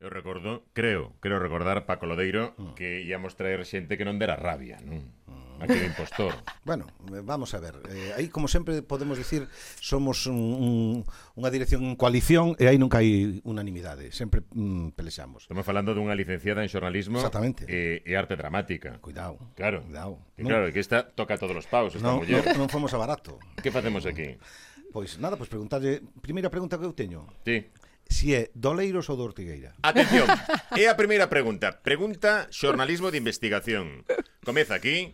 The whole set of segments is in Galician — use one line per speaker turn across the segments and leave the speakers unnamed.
Eu recordo, creo, creo recordar, Paco Lodeiro, que íamos traer xente que non dera rabia, non? Aquele impostor.
Bueno, eh, vamos a ver. Eh, aí, como sempre, podemos dicir, somos un, un, unha dirección en coalición e aí nunca hai unanimidade. Sempre mm, pelexamos.
Estamos falando dunha licenciada en xornalismo eh,
Exactamente.
e, e arte dramática.
Cuidado.
Claro.
Cuidado.
Que claro, que esta toca todos os paus, esta
non, non,
muller.
non fomos a barato.
Que facemos aquí?
Pois nada, pois preguntarlle, primeira pregunta que eu teño,
Ti.
si é doleiros ou do Ortigueira?
Atención, é a primeira pregunta. Pregunta xornalismo de investigación. Comeza aquí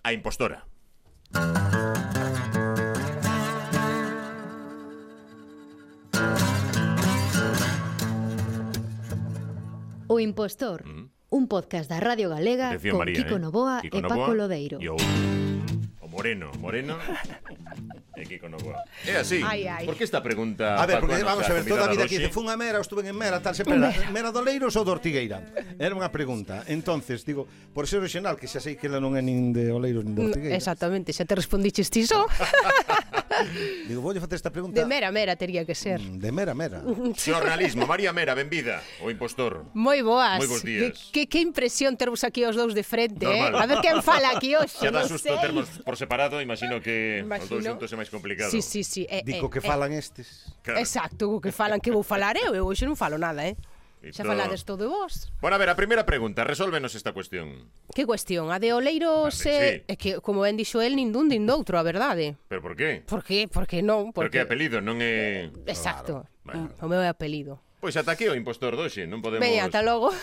a impostora.
O Impostor, un podcast da Radio Galega
Mm. Atención,
con
María,
Kiko
eh?
Novoa
Kiko
e Paco
Novoa
Lodeiro.
E o, o Moreno, Moreno e Kiko Novoa. É así.
Ai, ai.
Por que esta pregunta,
A
Ah,
ver,
Paco,
porque
nosa
vamos a ver, toda a vida
convidada
que
doxe?
dice, fun a Mera, ou estuve en Mera, tal, sempre era, Mera doleiros ou do Ortigueira? Era unha pregunta. Entonces, digo, por ser original, que xa sei que ela non é nin de Oleiros
Mm,
nin de Ortigueira,
Exactamente, xa te respondiches ti só.
digo, voulle facer esta pregunta
De mera mera tería que ser.
mm, de Mera, Mera.
Xornalismo, María Mera, benvida, o impostor.
Moi boas.
Moi bos días.
Que, que, que impresión tervos aquí os dous de frente,
Normal.
eh? A ver quen fala aquí hoxe.
Xa dá
non
susto
sei.
termos por separado, imagino que os dous
Imagino.
xuntos é máis complicado.
Sí, sí, sí. Eh,
Dico
eh,
que falan estes.
Eh, exacto, o que falan que vou falar eu, eu hoxe non falo nada, eh?
E
Xa
todo.
falades todo vos.
Bueno, a ver, a primeira pregunta, resólvenos esta cuestión.
Que cuestión, a de Oleiros
Vale, sí.
eh, é que como ben dixo el nin dun nin doutro, a verdade.
Pero por qué?
Por que? Por que non?
Porque
Porque
apelido non é...
Exacto.
Claro.
O meu é apelido.
Pois ata aquí o impostor doxe, non podemos...
Veña, ata logo.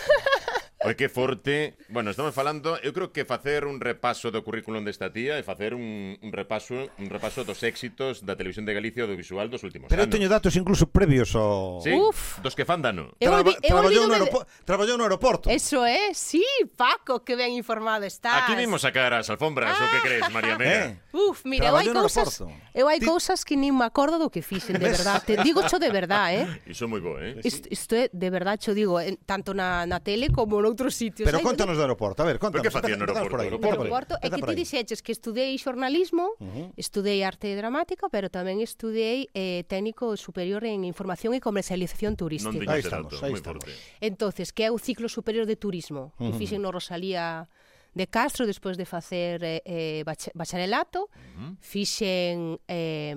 Oi, que forte. Bueno, estamos falando, eu creo que facer un repaso do currículum desta tía e facer un, un repaso un repaso dos éxitos da televisión de Galicia audiovisual dos últimos
Pero eu
anos.
teño datos incluso previos ao...
Sí,
Uf.
dos que fandano.
Eu
Traba-
olvi- eu
traballou, no
olvídome de-
aeropo... traballou no aeroporto.
Eso é, sí, Paco, que ben informado estás.
Aquí vimos sacar as alfombras, o
Ah.
que crees, María Mera?
Eh.
Uf, mira, eu hai
Traballou no
cousas,
aeroporto.
eu hai
Ti-
cousas que nin me acordo do que fixen, de verdade. Te digo cho de verdade, eh?
Iso é moi bo, eh?
Isto, isto é, de verdade, cho digo, en, tanto na, na tele como noutros sitios.
Pero
Hai-
contanos do aeroporto, a ver, contanos.
que facía no
empezamos por aí,
aeroporto?
do
empezamos por aí,
aeroporto é que
empezamos por
ti
aí.
dixeches que estudei xornalismo, uh -huh. estudei arte dramática, pero tamén estudei eh, técnico superior en información e comercialización turística.
Non teño
Aí
ese
estamos,
dato,
aí
moi
estamos.
forte.
Entonces, que é o ciclo superior de turismo? Uh -huh. Fixen no Rosalía de Castro despois de facer eh, eh, bache- bacharelato, uh -huh. fixen eh,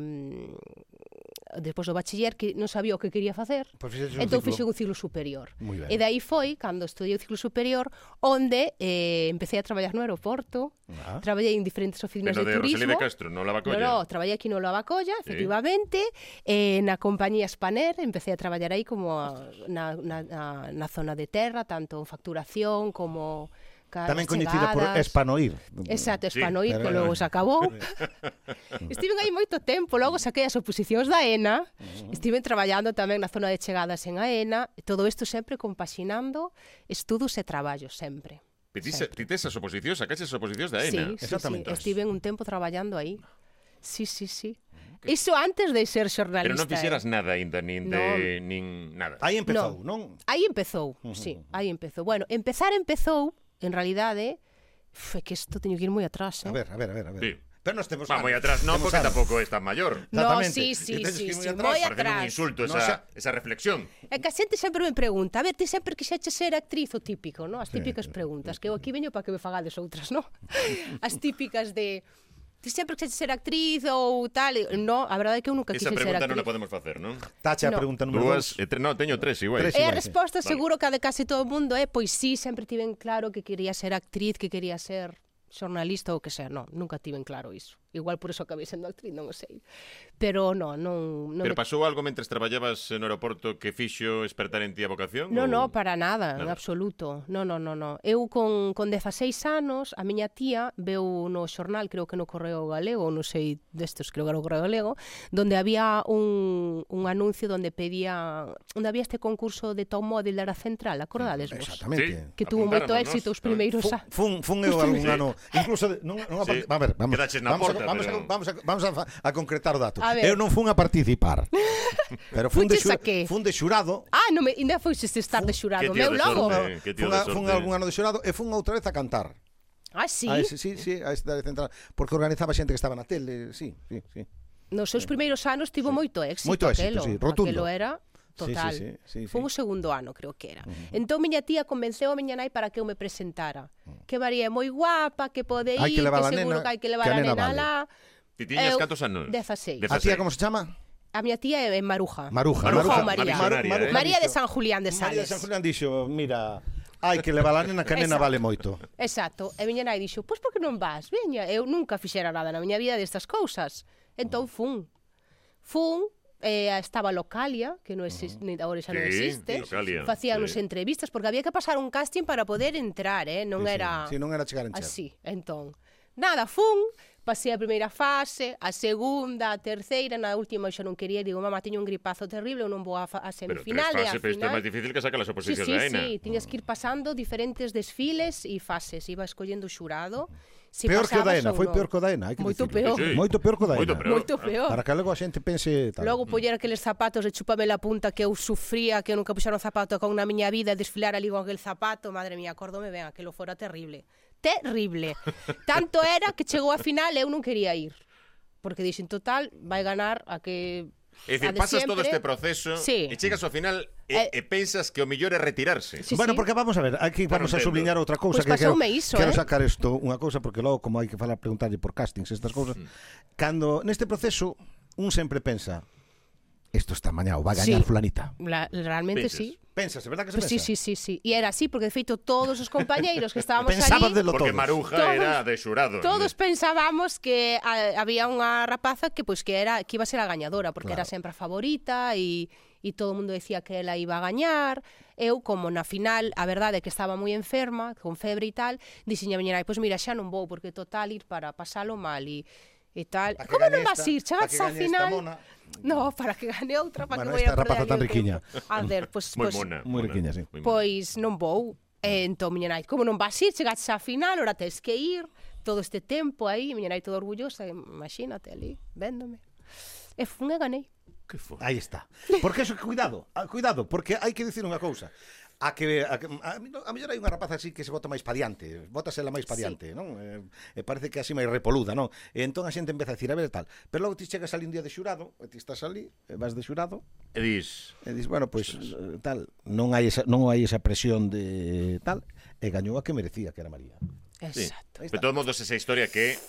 despois do bachiller que non sabía o que quería facer.
Pois fixeches un
entón
ciclo.
fixen un ciclo superior.
Moi ben.
E dai foi cando estudei o ciclo superior onde eh, empecé a traballar no aeroporto,
Ah.
traballei en diferentes oficinas
Pero
de
de
turismo.
Rosalía de Castro, non la va coller.
No, no, traballei aquí no Lavacolla, efectivamente, eh, na compañía Spaner, empecé a traballar aí como a, na, na, na, na zona de terra, tanto en facturación como ca-
Tamén
as
coñecida por
chegadas.
Espanoir.
Exacto,
Sí,
Espanoir,
pero-
que logo se acabou. Estiven aí moito tempo, logo saquei as oposicións da ENA, estiven traballando tamén na zona de chegadas en AENA, e todo isto sempre compaxinando estudos e traballos, sempre.
Petisa, ti tes as oposicións, sacaches as oposicións da ENA.
Sí, sí, sí.
Exactamente.
Estiven un tempo traballando aí. Sí, sí, sí.
Mm-hmm.
Iso antes de ser
Pero
xornalista. eh.
non fixeras nada ainda, nin de... nin nada.
Aí empezou, non?
Eh. Aí empezou, sí, aí empezou. Bueno, empezar empezou, en realidade, foi que isto teño que ir moi atrás,
A
eh?
ver, a ver, a ver, a ver.
Sí.
Pero nos temos
Va, moi
anos,
atrás, non,
temos
porque
anos.
tampouco estás maior.
No,
Exactamente.
sí,
E
sí,
tedes
sí,
que ir moi atrás,
sí, moi
Parece un
atrás.
insulto
No,
esa,
xa-
esa reflexión.
É que a xente sempre me pregunta, a ver, ti sempre quixeche ser actriz o típico, no? As típicas preguntas, que eu aquí veño para que me fagades outras, no? As típicas de ti sempre quixeche ser actriz ou tal, e- no, a verdade é que eu nunca
Esa
quixen ser
pregunta
actriz.
non a podemos facer, non?
Tacha a
No.
pregunta número
Dúas, e
2.
tre... no, teño tres igual.
Tres
E Eh, a
Vale.
resposta seguro que a de case todo o mundo é pois sí, sempre tiven claro que quería ser actriz, que quería ser xornalista ou que sea, non, nunca tiven claro iso. Igual por iso acabei sendo actriz, non o sei. Pero non, non, non
Pero
me-
pasou algo mentres traballabas no aeroporto que fixo despertar en ti a vocación? ou-
No, no, para nada, en
Nada.
absoluto. No, no, no, no. Eu con, con 16 anos, a miña tía veu no xornal, creo que no Correo Galego, ou non sei destes, creo que era o Correo Galego, donde había un, un anuncio donde pedía, onde había este concurso de top model da central, acordades vos?
Exactamente.
Que tuvo moito
Apuntáronos,
éxito os
tamén.
primeiros
Fun,
anos.
fun, fun eu algún ano, incluso de, non, non a
Sí.
part... a ver, vamos.
Quedaches na
vamos,
porta,
a, vamos,
pero-
a, vamos, a, vamos a, fa- a concretar o dato.
A ver.
Eu non fun a participar. pero fun de,
Fuches
xura,
a qué?
fun de xurado.
Ah, non me, ainda foixes estar de xurado,
Que tío
meu
de
logo.
sorte. Eh, que tío
fun,
de
a, fun
sorte.
algún ano de xurado e fun outra vez a cantar.
Ah, sí?
A ese, sí, sí, a ese da central, porque organizaba xente que estaba na tele, sí, sí, sí.
Nos seus primeiros anos tivo moito éxito,
Moito éxito,
aquelo.
sí, rotundo.
Aquelo era total.
Sí, sí, sí, sí,
Foi
sí.
o segundo ano, creo que era. Entón miña tía convenceu a miña nai para que eu me presentara. Que María é moi guapa, que pode ir,
Hai que levar a
seguro
nena,
que hai que levar
que a
a
nena
nena,
vale.
lá.
Ti tiñas
Eu,
cantos anos?
16.
A tía
Dezaseis.
como se chama?
A miña tía é é Maruja.
Maruja.
Ah. Maruja
ou María.
Maruja, eh.
María de
dixo-
San Julián de
María
Sales.
de San Julián dixo, mira, hai que levar a nena que a nena
Exacto.
vale moito.
Exacto. E miña nai dixo, pois por que non vas? Veña, eu nunca fixera nada na miña vida destas cousas. Entón fun. Fun, eh, estaba Localia, que non existe, uh agora xa non
Sí,
existe.
Localia,
Facíanos
sí.
entrevistas, porque había que pasar un casting para poder entrar, eh? non era
Si non era chegar en Cher.
así. Entón, nada, fun, pasei a primeira fase, a segunda, a terceira, na última eu xa non quería, e digo, mamá, teño un gripazo terrible, eu non vou a, fa- a
Pero tres
semifinal, e a
fases, pero isto é
final...
máis difícil que sacar as
Sí,
oposicións
sí,
da ENA.
sí, tiñas que ir pasando diferentes desfiles e fases, iba escollendo o xurado. Si
peor que o da
pasabas
Ena,
ou
foi
non.
peor que o da Ena, hai que
Moito
dicirlo.
peor. Sí,
sí.
Moito peor que o da
Moito
Ena.
peor. Mm.
Moito peor.
Para que logo a xente pense tal.
Logo poñer aqueles zapatos de chupame la punta que eu sufría, que eu nunca puxera un zapato con na miña vida, desfilar ali con aquel zapato, madre mía, acórdome ben, aquilo fora terrible. Terrible. Tanto era que chegou a final e eu non quería ir. Porque dixen, total, vai ganar a que...
É dicir,
a de
pasas todo
sempre".
este proceso
Sí.
e chegas ao final e, e
Eh,
pensas que o mellor é retirarse.
Sí,
bueno,
sí.
porque vamos a ver, aquí
Claro,
vamos a
entendo.
subliñar outra cousa
Pois
que quero,
pasoume iso,
quero
eh.
sacar isto unha cousa porque logo como hai que falar preguntarlle por castings,
Mm.
estas cousas. Cando neste proceso un sempre pensa, isto está mañao, va a gañar
Sí.
fulanita.
La, realmente
Penses.
sí.
Pénsase, verdad que se
Pues sí,
pensa?
sí, sí, sí. E era así, porque de feito todos os compañeiros que estábamos
Pensabas
ali...
de lo
Porque
todo.
Maruja
Todos-
era de xurado.
Todos pensábamos que a, había unha rapaza que pois que era que iba a ser a gañadora porque claro. era sempre a favorita e e todo o mundo decía que ela iba a gañar. Eu como na final, a verdade é que estaba moi enferma, con febre e tal, dixiña a miña nai, pois mira, xa non vou porque total ir para pasalo mal e e tal.
Pa que
Como non
gañe
vas
esta-
ir?
pa que
Chegas á
gañe esta
final.
mona.
No, para que gane outra, para
Bueno,
que voy a
esta
perder
rapaza
aquí
tan
o
riquiña.
tempo. A ver, pois
Moi
pois-
mona.
moi riquiña, sí.
moi mona.
Pois non vou. E entón, miña nai, como non vas ir, chegaste á final, ora tens que ir, todo este tempo aí, miña nai toda orgullosa, imagínate ali, véndome. E fun e ganei.
Que foi?
Aí está. Porque eso, cuidado, ah, cuidado, porque hai que dicir unha cousa. A que a, que- a, mi- a mellor hai unha rapaza así que se bota máis pa diante, bótasela máis pa
Sí.
diante, non? Eh, e parece que así máis repoluda, non? E entón a xente empeza a dicir, a ver e tal. Pero logo ti chegas ali un día de xurado, e ti estás ali, e vas de xurado,
E dis,
e dis, bueno, pois eh, tal, non hai esa non hai esa presión de tal, e gañou a que merecía, que era María.
Sí.
Exacto.
Pero todo modos esa historia que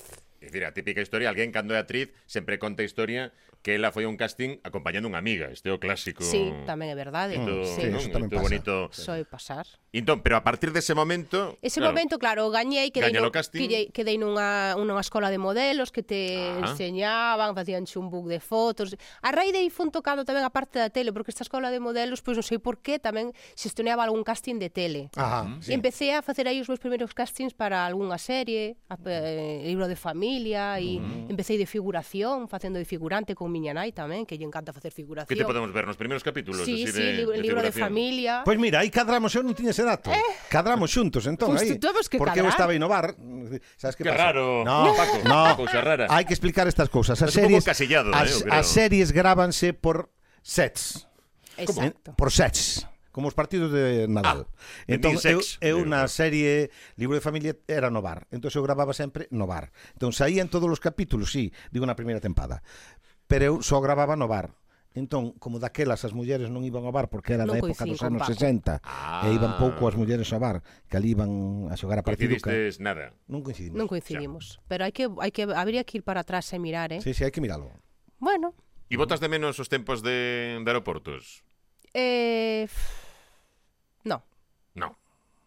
É dicir, a típica historia, alguén cando é actriz sempre conta a historia que ela foi a un casting acompañando unha amiga, este é o clásico.
Sí, tamén é verdade.
Todo,
sí.
Mm,
non?
Sí, eso tamén
Todo
pasa.
bonito.
Soy pasar.
Entón, pero a partir dese momento, claro,
Ese claro. momento, claro, gañei, quedei,
Gaña
no,
no casting.
quedei, quedei nunha, nunha escola de modelos que te
Ah.
ah. enseñaban, facían chumbuc de fotos. A raíz de aí fun tocando tamén a parte da tele, porque esta escola de modelos, pois non sei por qué, tamén xestioneaba algún casting de tele.
Ajá,
Sí. Empecé a facer aí os meus primeiros castings para algunha serie, a, eh, libro de familia e empecé de figuración, facendo de figurante con miña nai tamén, que lle encanta facer figuración.
que te podemos ver nos primeiros capítulos
Sí,
así
sí,
de,
libro,
de
libro de
figuración?
familia.
Pois mira, aí cadramos, eu non tiña ese dato. Eh? Cadramos xuntos, entón,
Pois
aí.
tuvemos que
porque eu
cadrar.
estaba a innovar. Sabes que
Que
pasa?
raro,
No,
Paco,
no.
cousa rara.
Hai que explicar estas cousas. As
Estás un pouco
series,
encasillado, eh,
as,
eu creo.
as series grábanse por sets. En-
Exacto.
Por sets. Como os partidos de Nadal.
Ah,
entón,
entendín
eu,
sex.
eu
Digo,
na
claro.
serie Libro de Familia era no bar. Entón, eu gravaba sempre no bar. Entón, saía en todos os capítulos, sí, digo na primeira tempada. Pero eu só gravaba no bar. Entón, como daquelas as mulleres non iban ao bar porque era
Non
da época
coinciden
dos
con
anos
Paco.
60
Ah.
e eh, iban pouco as mulleres ao bar, que ali iban a xogar a partido que...
Coincidistes nada.
Non coincidimos.
Non coincidimos, pero hai que hai que habría que ir para atrás e mirar, eh.
Sí, sí, hai que miralo.
Bueno,
E botas de menos os tempos de, de aeroportos?
eh No.
No.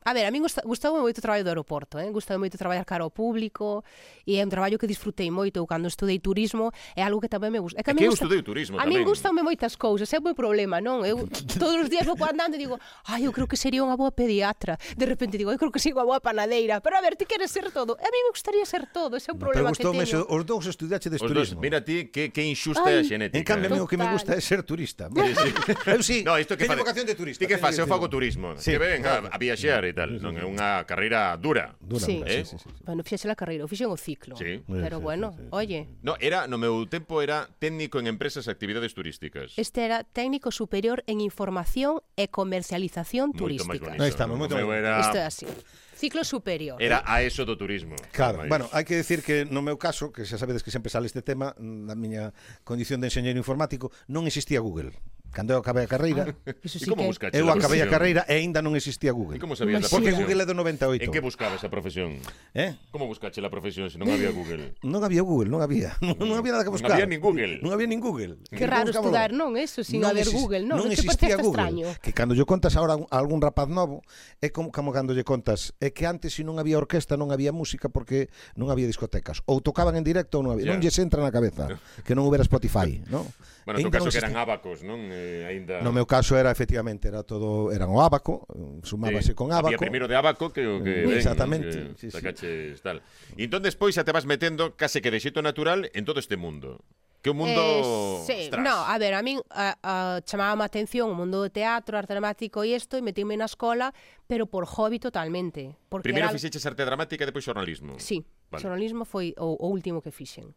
A ver, a min gusta, gustaba moito o traballo do aeroporto, eh? gustaba moito traballar cara ao público e é un traballo que disfrutei moito eu cando estudei turismo, é algo que tamén me
É
gusta. a
que
min
eu
gusta-
estudei turismo
A
tamén.
min gustame moitas cousas, é o meu problema, non? Eu todos os días vou andando e digo, ai, eu creo que sería unha boa pediatra. De repente digo, eu creo que sería unha boa panadeira. Pero a ver, ti queres ser todo. E a mí me gustaría ser todo, ese é o
Pero
problema que
gustoume
teño.
eso, os dous estudiaches de
Os dos,
turismo.
mira ti, que, que inxusta é a
Ai.
xenética.
En cambio, a mí o que me gusta
Total.
é ser turista. Eu
¿eh?
sí,
No, isto que
teño
fade-
vocación de turista.
Ti que
teño
fase, eu
que
fago
dicirlo.
turismo.
Sí,
que ven
claro.
a, a viaxear e tal. Non é unha carreira dura.
Dura,
Sí.
dura,
Eh?
sí, sí, sí.
Bueno, fixen a carreira, eu fixen o ciclo.
Sí.
Sí,
Pero
sí,
bueno,
sí, sí, sí.
oye,
No, era no meu tempo era técnico en empresas e actividades turísticas.
este era técnico superior en información e comercialización
Moito máis
turística.
bonito,
Aí estamos,
no
moito
meu
máis.
era
Isto é así. Ciclo superior.
era a eso do turismo.
Claro,
Mais.
bueno, hai que decir que no meu caso, que xa sabedes que sempre sale este tema, na miña condición de enxeñeiro informático, non existía Google. Cando eu acabei a carreira,
Iso
E
sí
como
que...
buscaste
eu
a
acabei
profesión?
a carreira e aínda non existía Google.
E como sabías da
Porque
profesión?
Google é do 98.
En que buscabas a profesión?
eh?
Como buscaste a profesión se non había Google?
Non había Google, non había. Non, non había nada que
Non
buscar.
había nin Google.
Non había nin Google.
Que raro
Buscábalo.
estudar, non? Eso, sin haber
exis-
Google, non?
non
Te
existía
parece
Google.
extraño.
Que cando lle contas ahora a un- a algún rapaz novo, é como, como cando lle contas, é que antes se non había orquesta, non había música porque non había discotecas. Ou tocaban en directo ou non
Ya.
había. Non lles entra na cabeza que non houbera Spotify, non?
Bueno, no
Ainda
caso
non
que eran
existía.
abacos, non? Eh, ainda...
No meu caso era efectivamente era todo eran o abaco, eh, sumábase
Sí,
con
Había
abaco.
primeiro de abaco que o que
Mm,
ven,
exactamente,
Que
sí, sí.
sacaches tal. E entón despois xa te vas metendo case que de xeito natural en todo este mundo. Que o mundo...
Eh, sí,
Ostras.
no, a ver, a min a, a, chamaba a atención o mundo do teatro, arte dramático e isto, e metíme na escola, pero por hobby totalmente. Porque
Primeiro
era...
fixeches arte dramática e depois xornalismo. Mm,
Sí,
Vale.
vale. xornalismo foi o, o último que fixen.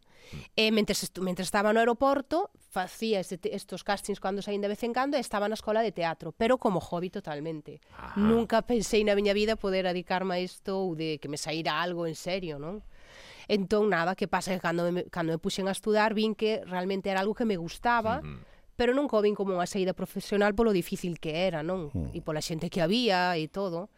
E mentres, estu- mentres estaba no aeroporto, facía este, te- estos castings cando saín de vez en cando e estaba na escola de teatro, pero como hobby totalmente.
Ajá.
Nunca pensei na miña vida poder adicarme a isto ou de que me saíra algo en serio, non? Entón, nada, que pasa que cando me, cando me puxen a estudar vin que realmente era algo que me gustaba,
Ujú.
pero nunca o vin como unha saída profesional polo difícil que era, non? E pola xente que había e todo.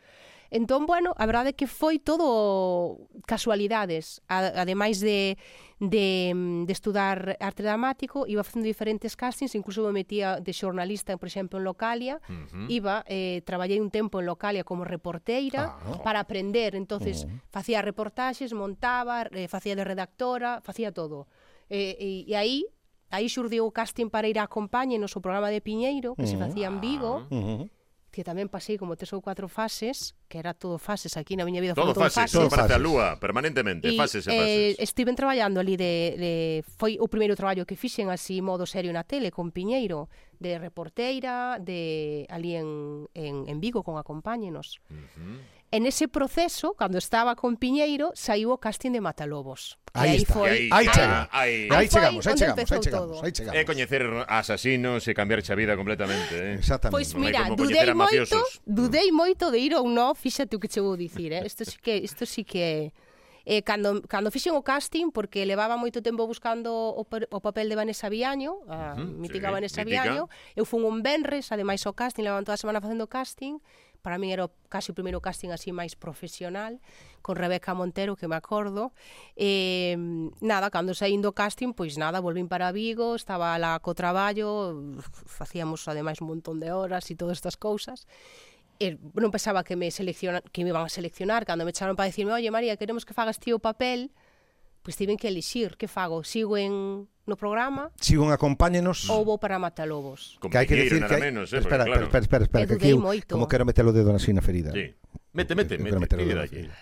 Entón, bueno, a verdade é que foi todo casualidades. A- Ademais de, de, mm, de estudar arte dramático, iba facendo diferentes castings, incluso me metía de xornalista, por exemplo, en Localia. Iba, eh, traballei un tempo en Localia como reporteira
Ah.
para aprender. Entonces, facía reportaxes, montaba, eh, facía de redactora, facía todo. Eh, e, e aí aí xurdiu o casting para ir a acompañe no seu programa de Piñeiro, que se facía en Vigo
Ah.
Ujú.
que tamén pasei como tres ou cuatro fases, que era todo fases aquí na miña vida,
Todo
foron todo
fases,
fases.
todo
Todo
parece a
fases.
lúa, permanentemente,
E,
fases e
eh,
fases.
estiven traballando ali de, de foi o primeiro traballo que fixen así modo serio na tele con Piñeiro de reporteira de ali en, en, en Vigo con Acompáñenos. En ese proceso, cando estaba con Piñeiro, saiu o casting de Matalobos. E
Aí está.
foi-
E
Aí
xa,
chega.
aí,
Aí
Aí foi
chegamos, aí
onde
chegamos, aí
empezou
chegamos,
todo.
aí chegamos.
É coñecer asasinos e cambiar a vida completamente, eh?
Exactamente.
Pois
Non hai
mira,
como coñecer
dudei
a
moito,
mafiosos.
Mm. dudei moito de ir ou non, fíxate o que che vou dicir, eh? Isto sí que isto sí que é. Eh, cando, cando fixen o casting, porque levaba moito tempo buscando o, per- o papel de Vanessa Viaño, a uh -huh, mítica
sí,
sí, Vanessa
mítica.
Viaño, eu fun un benres, ademais ao casting, levaban toda a semana facendo casting, para min era o- casi o primeiro casting así máis profesional, con Rebeca Montero, que me acordo. Eh, nada, cando saín do casting, pois nada, volvín para Vigo, estaba lá co traballo, facíamos ademais un montón de horas e todas estas cousas. E eh, non pensaba que me seleccionan, que me iban a seleccionar, cando me echaron para decirme, oye María, queremos que fagas ti o papel, pois tiven que elixir, que fago? Sigo en no programa
Sigon acompáñenos.
ou vou para Matalobos?
Con
que hai que
Piñeiro,
decir
nada
que hai...
menos, eh?
Pero espera,
porque, claro,
espera, espera, espera,
Eu
que aquí
dudei
eu,
moito.
como quero meter o dedo na sina ferida.
Sí. Mete, mete,
Eu quero
mete,
meter o
pide
dedo
dalle.
na ferida.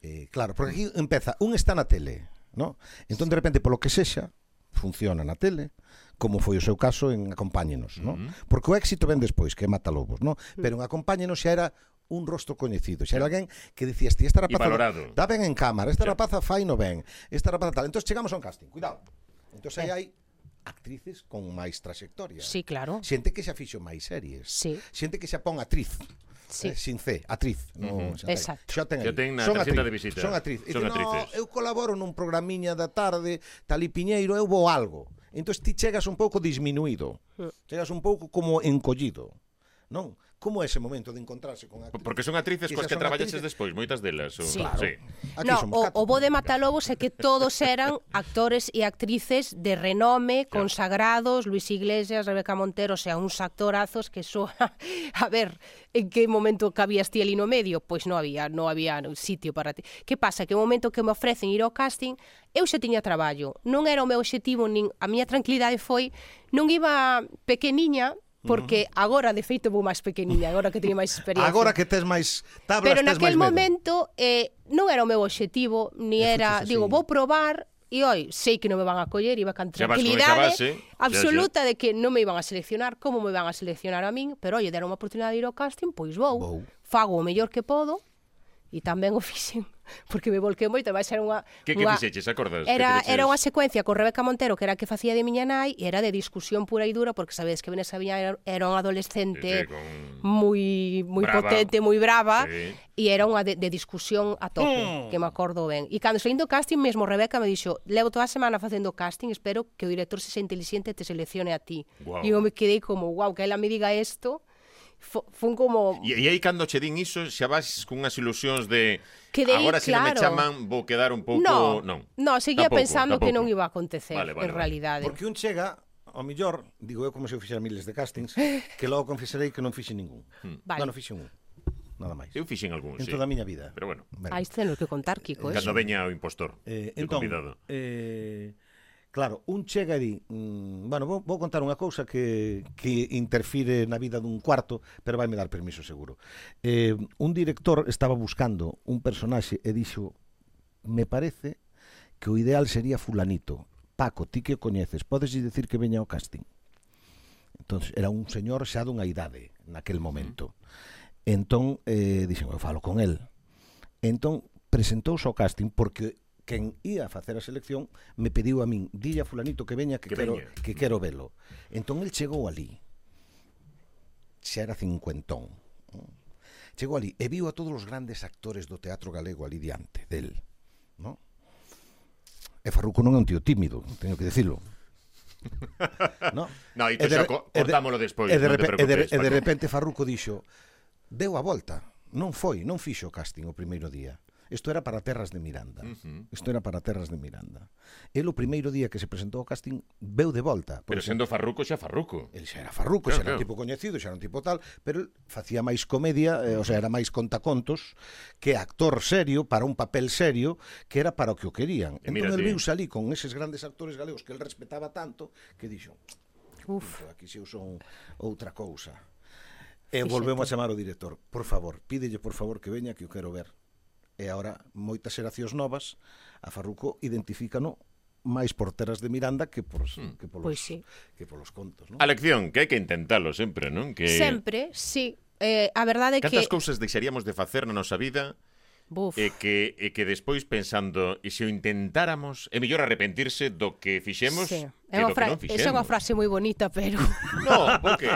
Eh, claro, porque aquí empeza, un está na tele, ¿no? Entón de repente polo que sexa funciona na tele, como foi o seu caso en Acompáñenos, ¿no? Porque o éxito ven despois, que é Mata Lobos, ¿no? Pero en Acompáñenos xa era un rostro coñecido, xa era alguén que dicías, ti, esta
E
rapaza
valorado.
dá ben en cámara, esta rapaza fai no ben, esta rapaza tal. Entón chegamos a un casting, cuidado. Entón aí hai actrices con máis trayectoria.
Sí, claro.
Xente que xa fixo máis series.
Sí.
Xente que xa pon atriz. Eh,
Sí.
sin C, atriz. No, xa ten.
Exacto.
Xa ten, aí.
Xa ten na
son
tarxeta
atriz,
de visita.
Son atriz. E
Son
dice, no,
atrices."
eu colaboro nun programiña da tarde, tal e Piñeiro, eu vou algo. Entón ti chegas un pouco disminuído.
Mm.
Chegas un pouco como encollido. Non? Como é ese momento de encontrarse con actriz?
Porque son actrices
Que
coas que
xa son
traballaches
actrices.
despois, moitas delas. o-
Sí.
Claro.
sí.
Aquí
no,
somos
o,
catro.
o bo de Matalobos é que todos eran actores e actrices de renome, consagrados, Luis Iglesias, Rebeca Montero, o sea, uns actorazos que só... a ver, en que momento cabías ti ali no medio? Pois non había, non había sitio para ti. Que pasa? Que o momento que me ofrecen ir ao casting, eu xa tiña traballo. Non era o meu obxectivo, nin a miña tranquilidade foi... Non iba pequeniña, porque agora, de feito, vou máis pequeniña, agora que teño máis experiencia.
Agora que tes máis tablas,
Pero
tes máis
naquel
medo.
momento eh, non era o meu obxectivo, ni
E fixo
era,
así.
digo, vou probar e oi, sei que non me van a coller, iba can
Xa vas con esa
tranquilidade
base,
absoluta de que non me iban a seleccionar, como me van a seleccionar a min, pero oi, deron unha oportunidade de ir ao casting, pois vou,
Vou.
fago o mellor que podo e tamén o fixen. porque me volquei moito, vai ser unha
Que que
unha-
fixeches, acordas? Que
Era,
quereches-
era unha secuencia con Rebeca Montero que era a que facía de miña nai e era de discusión pura e dura porque sabedes que Vanessa Viña era, era
Sí,
unha
sí,
adolescente
con-
moi moi
Brava.
potente, moi brava
Sí. Mm.
e era unha de, de discusión a tope, que me acordo ben. E cando saindo do casting mesmo Rebeca me dixo, levo toda a semana facendo casting, espero que o director se inteligente e te seleccione a ti.
Guau.
E eu me quedei como, wow, que ela me diga isto, fo- fun como
E, e aí cando che din iso, xa vas cunhas ilusións de
Quedei,
agora se non me
claro.
chaman, vou quedar un pouco,
No,
non.
no, seguía
Tampouco,
pensando que
tampouco.
non iba a acontecer
Vale, vale,
en
vale.
realidade.
Porque un chega ao millor, digo eu como se eu fixera miles de castings, que logo confesarei que non fixe ningún.
Vale.
Non, non fixe un. Nada máis.
Eu fixen algúns, Hmm.
en
sí.
toda a miña vida.
Pero bueno,
Ben.
Aí temos que contar, Kiko, eso.
cando veña o impostor,
Eh,
eh,
entón,
convidado.
eh, claro, un chega e di, mm, bueno, vou, vou contar unha cousa que, que interfire na vida dun cuarto, pero vai me dar permiso seguro. Eh, un director estaba buscando un personaxe e dixo, me parece que o ideal sería fulanito. Paco, ti que o coñeces, podes dicir que veña ao casting? Entonces, Entón, era un señor xa dunha idade naquel momento. Entón, eh, dixen, eu falo con el. Entón, presentouse ao casting porque quen ia a facer a selección me pediu a min, dille a fulanito que veña que,
Que
que quero,
veña."
que quero velo. Entón, el chegou ali. Xa era cincuentón. Chegou ali e viu a todos os grandes actores do teatro galego ali diante del. No? E Farruco non é un tío tímido, teño que dicilo. No?
No,
E
isto
de
xa
re-
co-
e de-
contámolo despois,
E de,
non te
repe- e de,
preocupes,
e de
Paco.
repente Farruco dixo, deu a volta, non foi, non fixo o casting o primeiro día. Isto era para Terras de Miranda.
Mm.
Isto era para Terras de Miranda. El o primeiro día que se presentou ao casting veu de volta.
Pero
Pois
sendo farruco xa farruco.
El xa era farruco,
Claro,
xa era un
claro.
tipo coñecido, xa era un tipo tal, pero el facía máis comedia, eh, o sea, era máis contacontos que actor serio para un papel serio que era para o que o querían.
E
entón
mira
el
ti.
viu salí con eses grandes actores galegos que el respetaba tanto que dixo, "Pô,
Uf,
aquí se eu son outra cousa. E volvemos a chamar o director. Por favor, pídelle por favor que veña que o quero ver. E agora moitas xeracións novas a Farruco identifícano máis por teras de Miranda que por
Hmm.
que polos
Pois sí.
que polos contos, non?
A lección, que hai que intentalo sempre, non? Que
sempre, sí. Eh, a verdade é que
Cantas cousas deixaríamos de facer na nosa vida
Buf.
e que e que despois pensando e se o intentáramos, é mellor arrepentirse do que fixemos
Sí.
que
É
do
unha fra...
que non fixemos.
Esa é unha frase moi bonita, pero
No, porque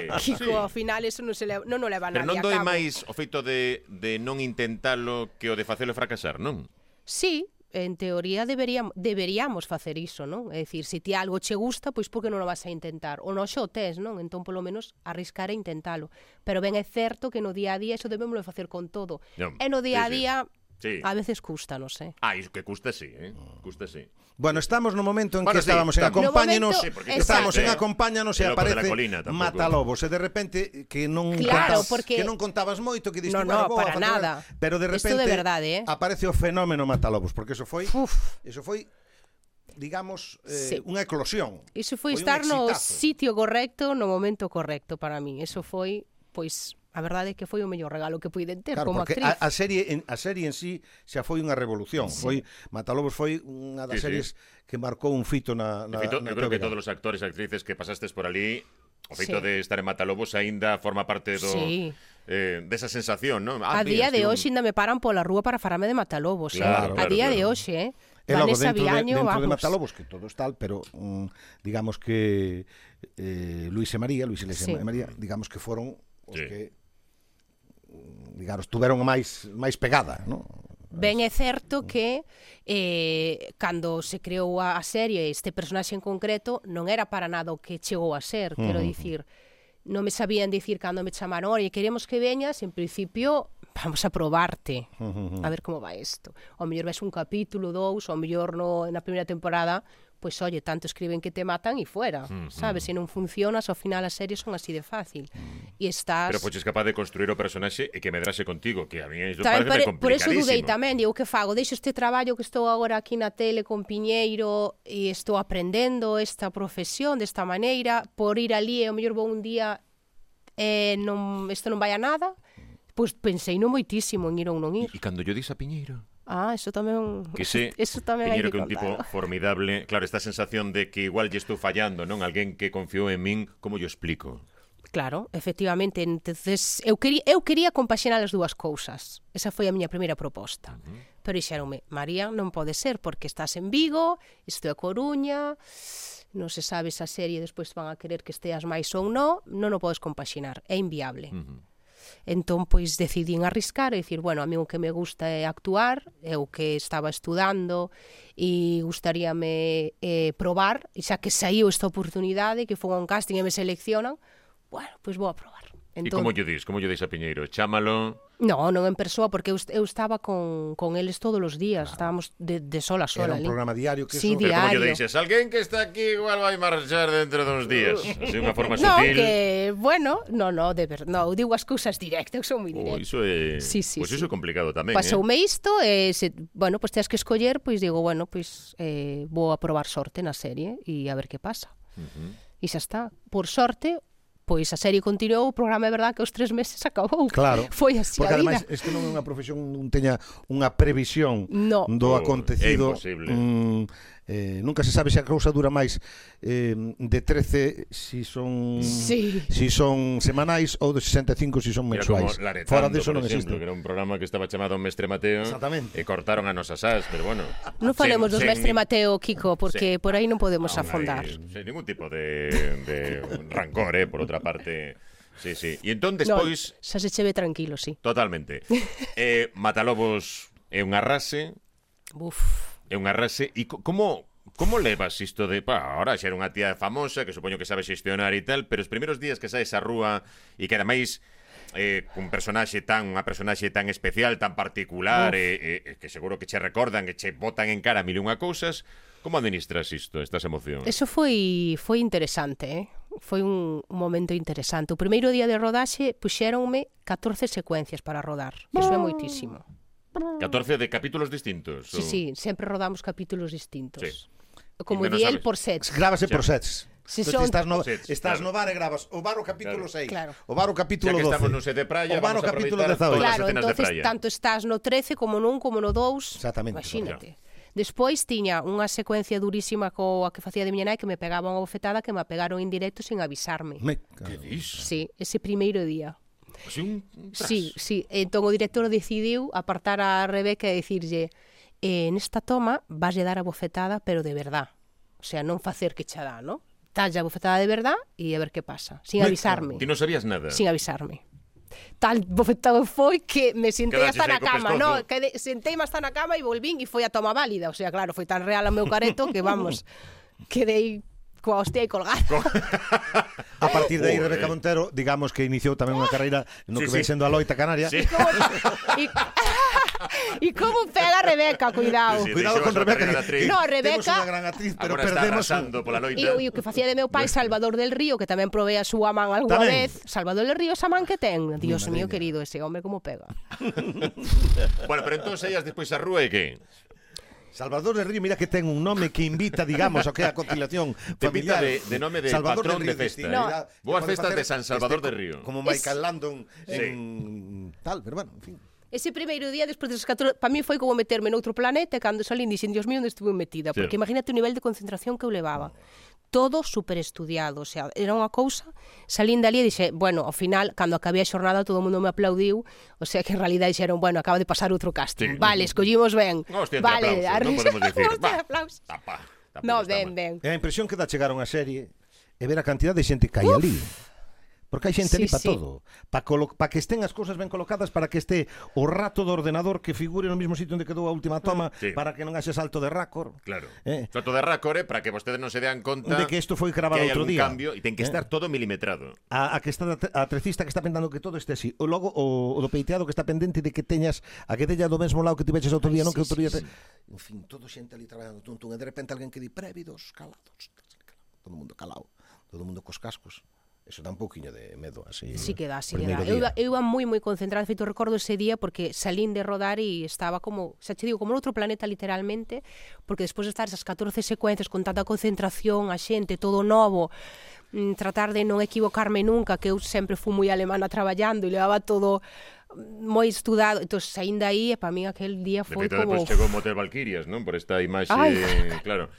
sí.
Kiko, ao final eso non se leva, non o leva
Pero
nadie
non
a
doe
cabo.
máis o feito de, de non intentalo que o de facelo e fracasar, non?
Sí, en teoría deberíamos, deberíamos facer iso, non? É dicir, se ti algo che gusta, pois por que non o vas a intentar? O noxo o tes, non? Entón, polo menos, arriscar e intentalo. Pero ben é certo que no día a día iso debemos de facer con todo.
Non,
E no día
sí,
a
sí.
día
Sí.
a veces custa, non sei.
Ah, iso que custa sí, eh? Custa sí.
Bueno, estamos no momento en
Bueno,
que
sí,
estábamos en
estamos.
Acompáñanos,
No momento, Sí, porque
estábamos en
exacto.
Acompáñanos e
El loco de la
aparece
colina, tampoco.
Matalobos e de repente que non
Claro,
contabas,
porque-
que non contabas moito que diste
No,
"Bueno,
no,
vou a
para
fotografar",
nada.
pero de
Isto de
repente
verdade, eh.
aparece o fenómeno Matalobos, porque eso foi,
Uf.
eso foi digamos eh,
Sí.
unha eclosión.
Iso
Foi
foi
un
estar no
exitazo.
sitio correcto, no momento correcto para min. Eso foi, pois, a verdade é que foi o mellor regalo que puiden ter
Claro,
como
porque
actriz.
a, a serie en, a serie en sí xa foi unha revolución. Sí. Foi Matalobos foi unha
Sí, sí.
das sí, series sí. que marcou un fito na
Na,
na,
feito,
na
eu Ah, creo que
TVG.
todos os actores e actrices que pasastes por ali O feito
Sí.
de estar en Matalobos aínda forma parte do
Sí.
eh, desa sensación, non? Ah,
A día de
hoxe
hoxe ainda me paran pola rúa para farame de Matalobos,
Claro, claro,
eh? a día
claro.
de hoxe, eh?
E logo
Vanessa
dentro,
Viaño,
de, dentro de
vamos.
Matalobos, que todo es tal, pero mm, digamos que eh, Luis e María, Luis e Luis
Sí.
e María, digamos que foron os
Sí.
que mm, digamos, tuveron a máis máis pegada, ¿no?
Ben é certo que eh, cando se creou a, a serie este personaxe en concreto non era para nada o que chegou a ser, quero dicir non me sabían dicir cando me chamaron oye, queremos que veñas, en principio vamos a probarte a ver como va isto ao mellor ves un capítulo, dous ao mellor no, na primeira temporada pois oye, tanto escriben que te matan e fuera, sabes, se non funcionas ao final as series son así de fácil e estás
Pero poches capaz de construir o personaxe e que medrase contigo, que a mí iso
Tamén
parece
por, por eso dudei
complicadísimo.
tamén, digo, que fago? Deixo este traballo que estou agora aquí na tele con Piñeiro e estou aprendendo esta profesión desta maneira, por ir ali e o mellor vou un día eh, non, isto non vai a nada, pois pensei non moitísimo en ir ou non
E
ir.
e cando yo dis a Piñeiro,
Ah, eso tamén...
que sé,
eso tamén hai
Piñeiro
que,
que é un tipo
contalo.
formidable, claro, esta sensación de que igual lle estou fallando, non? Alguén que confiou en min, como yo explico?
Claro, efectivamente, entonces eu quería eu quería compaxinar as dúas cousas. Esa foi a miña primeira proposta. Uh -huh. pero dixéronme, María, non pode ser, porque estás en Vigo, isto é Coruña, non se sabe se a serie despois van a querer que esteas máis ou non, non o podes compaxinar, é inviable. Uh -huh. Entón, pois, decidín arriscar e dicir, bueno, a mí o que me gusta é actuar, é o que estaba estudando e gustaríame eh, probar, e xa que saiu esta oportunidade, que foi un casting e me seleccionan, bueno, pois vou a probar.
E como lle dis? Como lle dis a Piñeiro? Chámalo?
No, non en persoa, porque eu, eu estaba con, con eles todos os días, claro. estábamos de, de sol a sol
Era un
ali.
programa diario que
Sí,
eso...
Pero como lle
Diario.
dices? Alguén que está aquí igual vai marchar dentro duns días. Así unha forma
Uh. No,
sutil.
que, bueno, no, no, de ver, no, eu digo as cousas directas, eu son moi
Oh,
directa.
iso é...
Sí, sí,
pois iso é
sí.
pues complicado tamén, eh?
Pasoume isto e se, bueno, pois pues, tens que escoller, pois digo, bueno, pois eh, vou a probar sorte na serie e a ver que pasa. Uh -huh. E xa está. Por sorte, pois a serie continuou, o programa é verdade que aos tres meses acabou.
Claro.
Foi así
Porque
a vida.
ademais este non é unha profesión non teña unha previsión
No.
do
Oh, é
acontecido.
imposible.
mm, eh, nunca se sabe se a cousa dura máis eh, de 13 si son
Sí.
si son semanais ou de 65 si son
Era como
mensuais.
Laretando,
Fora diso
por
non
exemplo,
existe.
que era un programa que estaba chamado Mestre Mateo
Exactamente.
e cortaron a nosa sas, pero bueno.
Non falemos
sen-
dos
sen
mestre
ni-
Mateo, Kiko, porque por aí non podemos
Aún
afondar.
ahí, Sin ningún tipo de, de rancor, eh, por otra parte. Sí, sí. Y entonces,
No,
pois,
xa se cheve tranquilo, sí.
totalmente. Eh, Matalobos é unha rase,
Buf.
é unha rase. E co- como como levas isto de, pa, ahora xa era unha tía famosa que supoño que sabe xestionar e tal, pero os primeiros días que saes á rúa e que ademais eh, cun personaxe tan, unha personaxe tan especial, tan particular, e, e, e que seguro que che recordan, que che botan en cara mil e unha cousas, como administras isto, estas emocións?
Eso foi foi interesante, eh? Foi un, un momento interesante. O primeiro día de rodaxe puxéronme 14 secuencias para rodar. Eso
Ah!
é moitísimo.
14 de capítulos distintos.
Sí,
ou-
sí, sempre rodamos capítulos distintos.
Sí.
Como
E menos
di el
sabes.
por set.
Grábase por sets.
Si
Entón,
son-
estás no,
Por sets,
estás
claro.
no bar e grabas o bar o capítulo
Claro.
6,
Claro.
o bar o
Ya
capítulo
que
12.
estamos nun set de praia,
o bar o
vamos a
capítulo
aproveitar todas
18.
as
Claro,
escenas de
entonces
praia.
tanto estás no 13 como nun, como no 2.
Exactamente,
Imagínate. Despois tiña unha secuencia durísima coa que facía de miña nai que me pegaba unha bofetada que me apegaron en directo sin avisarme.
Me-
Que dis?
Sí, ese primeiro día.
Así un- un tras.
Sí, sí. Entón o director decidiu apartar a Rebeca e dicirlle eh, nesta toma vas dar a bofetada, pero de verdad. O sea, non facer que xa dá, non? Talla a bofetada de verdad e a ver que pasa. Sin
Me
avisarme.
Ti non sabías nada.
Sin avisarme. Tal bofetado foi que me sentei
Quedaches
hasta
aí
na
co
cama,
pescozo.
no, que sentei hasta na cama e volvín e foi a toma válida, o sea, claro, foi tan real o meu careto que vamos, quedei coa hostia aí colgada.
A partir de aí,
Joder.
Rebeca Montero, digamos que iniciou tamén unha carreira no
Sí,
que vai
sí.
sendo a loita canaria.
Sí.
E, e como pega a Rebeca, cuidado.
Sí, sí,
Cuidado
deixou a
con
súa
Rebeca.
carreira de
Que
actriz.
No,
Temos
Rebeca-
unha gran actriz, pero
Agora está
perdemos...
arrasando pola loita.
E o, e o que facía de meu pai Salvador del Río, que tamén provee a súa man algunha
Tamén.
vez. Salvador del Río, esa man que ten. Dios
eh.
mío, querido, ese home como pega.
Bueno, pero entón saías despois a rúa e que?
Salvador del Río, mira que ten un nome que invita, digamos, a que a conciliación
Te invita
familiar.
de- de nome de patrón de festa, eh.
distinto, mira,
No.
que
Boas
pode
festas
facer
de San Salvador
este
del Río.
Como
Es-
Michael Landon en tal, pero bueno, en fin.
Ese primeiro día, despois dos 14, para mí foi como meterme noutro planeta, e cando salín, dixen, Dios mío, onde estuve metida? Porque
Cierto.
imagínate o nivel de concentración que eu levaba. Todo superestudiado, o sea, era unha cousa, salín dali e dixe, bueno, ao final, cando acabé a xornada, todo o mundo me aplaudiu, o sea, que en realidad dixeron, bueno, acaba de pasar outro casting,
Sí.
sí. vale, escollimos ben,
Unha hostia entre
vale,
aplausos, non
arri-
podemos dicir.
Hostia de
Va.
aplausos.
Tapa. tampouco
No,
está
ben,
mal.
ben.
É a impresión que dá chegar a unha serie e ver a cantidad de xente que hai ali. Porque hai xente
Sí,
ali para
sí.
todo. Para pa que estén as cousas ben colocadas, para que este o rato do ordenador que figure no mesmo sitio onde quedou a última toma,
Ah, Sí.
para que non haxe salto de récord.
Claro.
Eh.
Trato de racore para que vostedes non se dean conta
De que isto foi grabado
que hai
outro
algún
día.
cambio e ten que
Eh.
estar todo milimetrado.
A, a que está a trecista que está pendando que todo este así. O logo o, o do peiteado que está pendente de que teñas a que teña do mesmo lado que tiveches outro día, non que outro día. te- En fin, todo xente ali traballando tun tun e de repente alguén que di prévidos, calados, todo o mundo calado, todo o mundo cos cascos. Eso dá un pouquiño de medo así.
Sí que dá, sí que
primeiro
dá.
día.
Eu, iba- eu iba moi moi concentrada, feito recordo ese día porque salín de rodar e estaba como, xa che digo, como noutro planeta literalmente, porque despois de estar esas 14 secuencias con tanta concentración, a xente, todo novo, mm, tratar de non equivocarme nunca, que eu sempre fui moi alemana traballando e levaba todo mm, moi estudado, entón saín de aí e para min aquel día
De
foi
feito,
como...
depois chegou Motel Valquirias, non? Por esta imaxe,
Ai.
claro.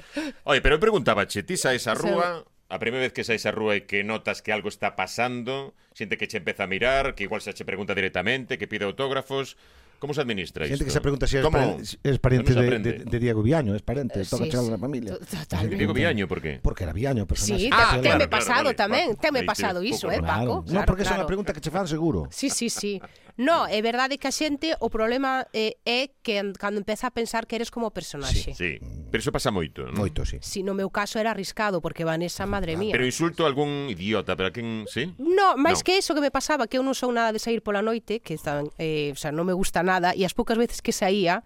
Oye, pero eu preguntaba, che, ti saes a
Sí.
rúa, a primeira vez que saes a rúa e que notas que algo está pasando, xente que che empeza a mirar, que igual xa che pregunta directamente, que pide autógrafos, Como se administra
Xente
isto?
que se pregunta se si es,
Como-
paren- si
como
es parente
se
de,
aprende?
de- de Diego Viaño, es parente,
Eh,
toca
sí,
chegar a la
sí.
familia.
To- totalmente.
Diego Viaño, por qué?
Porque era Viaño, o personaxe.
Sí,
Ah,
te,
claro,
teme
claro,
pasado
vale,
tamén,
vale.
teme
Aí
pasado
tienes
iso,
pouco
eh, Paco?
Claro. non,
Claro,
porque esa é unha
claro.
pregunta que che fan seguro.
Sí, sí, sí. No, é verdade que a xente o problema eh, é que an- cando empeza a pensar que eres como personaxe. Ah, Sí, sí.
Sí, pero iso pasa moito, non?
Moito, sí.
Si no meu caso era arriscado porque Vanessa, madre mía.
Pero insulto a algún idiota, pero a quen, sí?
No, máis
No.
no. que eso que me pasaba que eu non son nada de sair pola noite, que están, eh, o sea, non me gusta nada e as poucas veces que saía,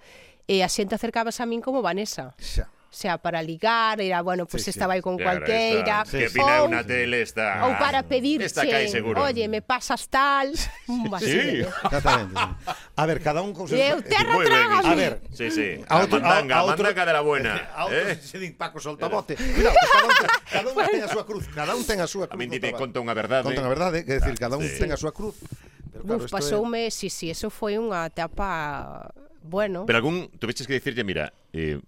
eh, a xente acercabas a min como Vanessa.
Xa.
O sea, para ligar, era, bueno, pues
Sí,
sí,
sí.
esta vai con
Que
cualqueira.
agradeza. Que
Sí, sí.
pina é
ou,
unha tele esta.
ou para pedirche,
Esta cae seguro.
oye, me pasas tal. Sí,
Sí.
Exactamente. sí. A ver, cada un con seus...
Eu terra
Moi ben,
trágame.
isto.
A ver,
Sí, sí.
A outro-
a mandanga,
a-
a,
a outro-
mandanga de la buena.
A
eh?
outros se din Paco soltabote. Cuidado, que cada un, te- cada un ten a súa cruz. Cada un ten a súa
A
cruz.
min
no
dite,
traballo.
conta ¿eh? unha verdade.
Conta a verdade, que ¿eh? decir, cada un
Ah, Sí.
ten a súa cruz. Pero claro,
Buf,
isto é-
pasoume, é... sí, sí, eso foi unha etapa, bueno,
Pero algún, tuveches que dicirlle, mira, eh,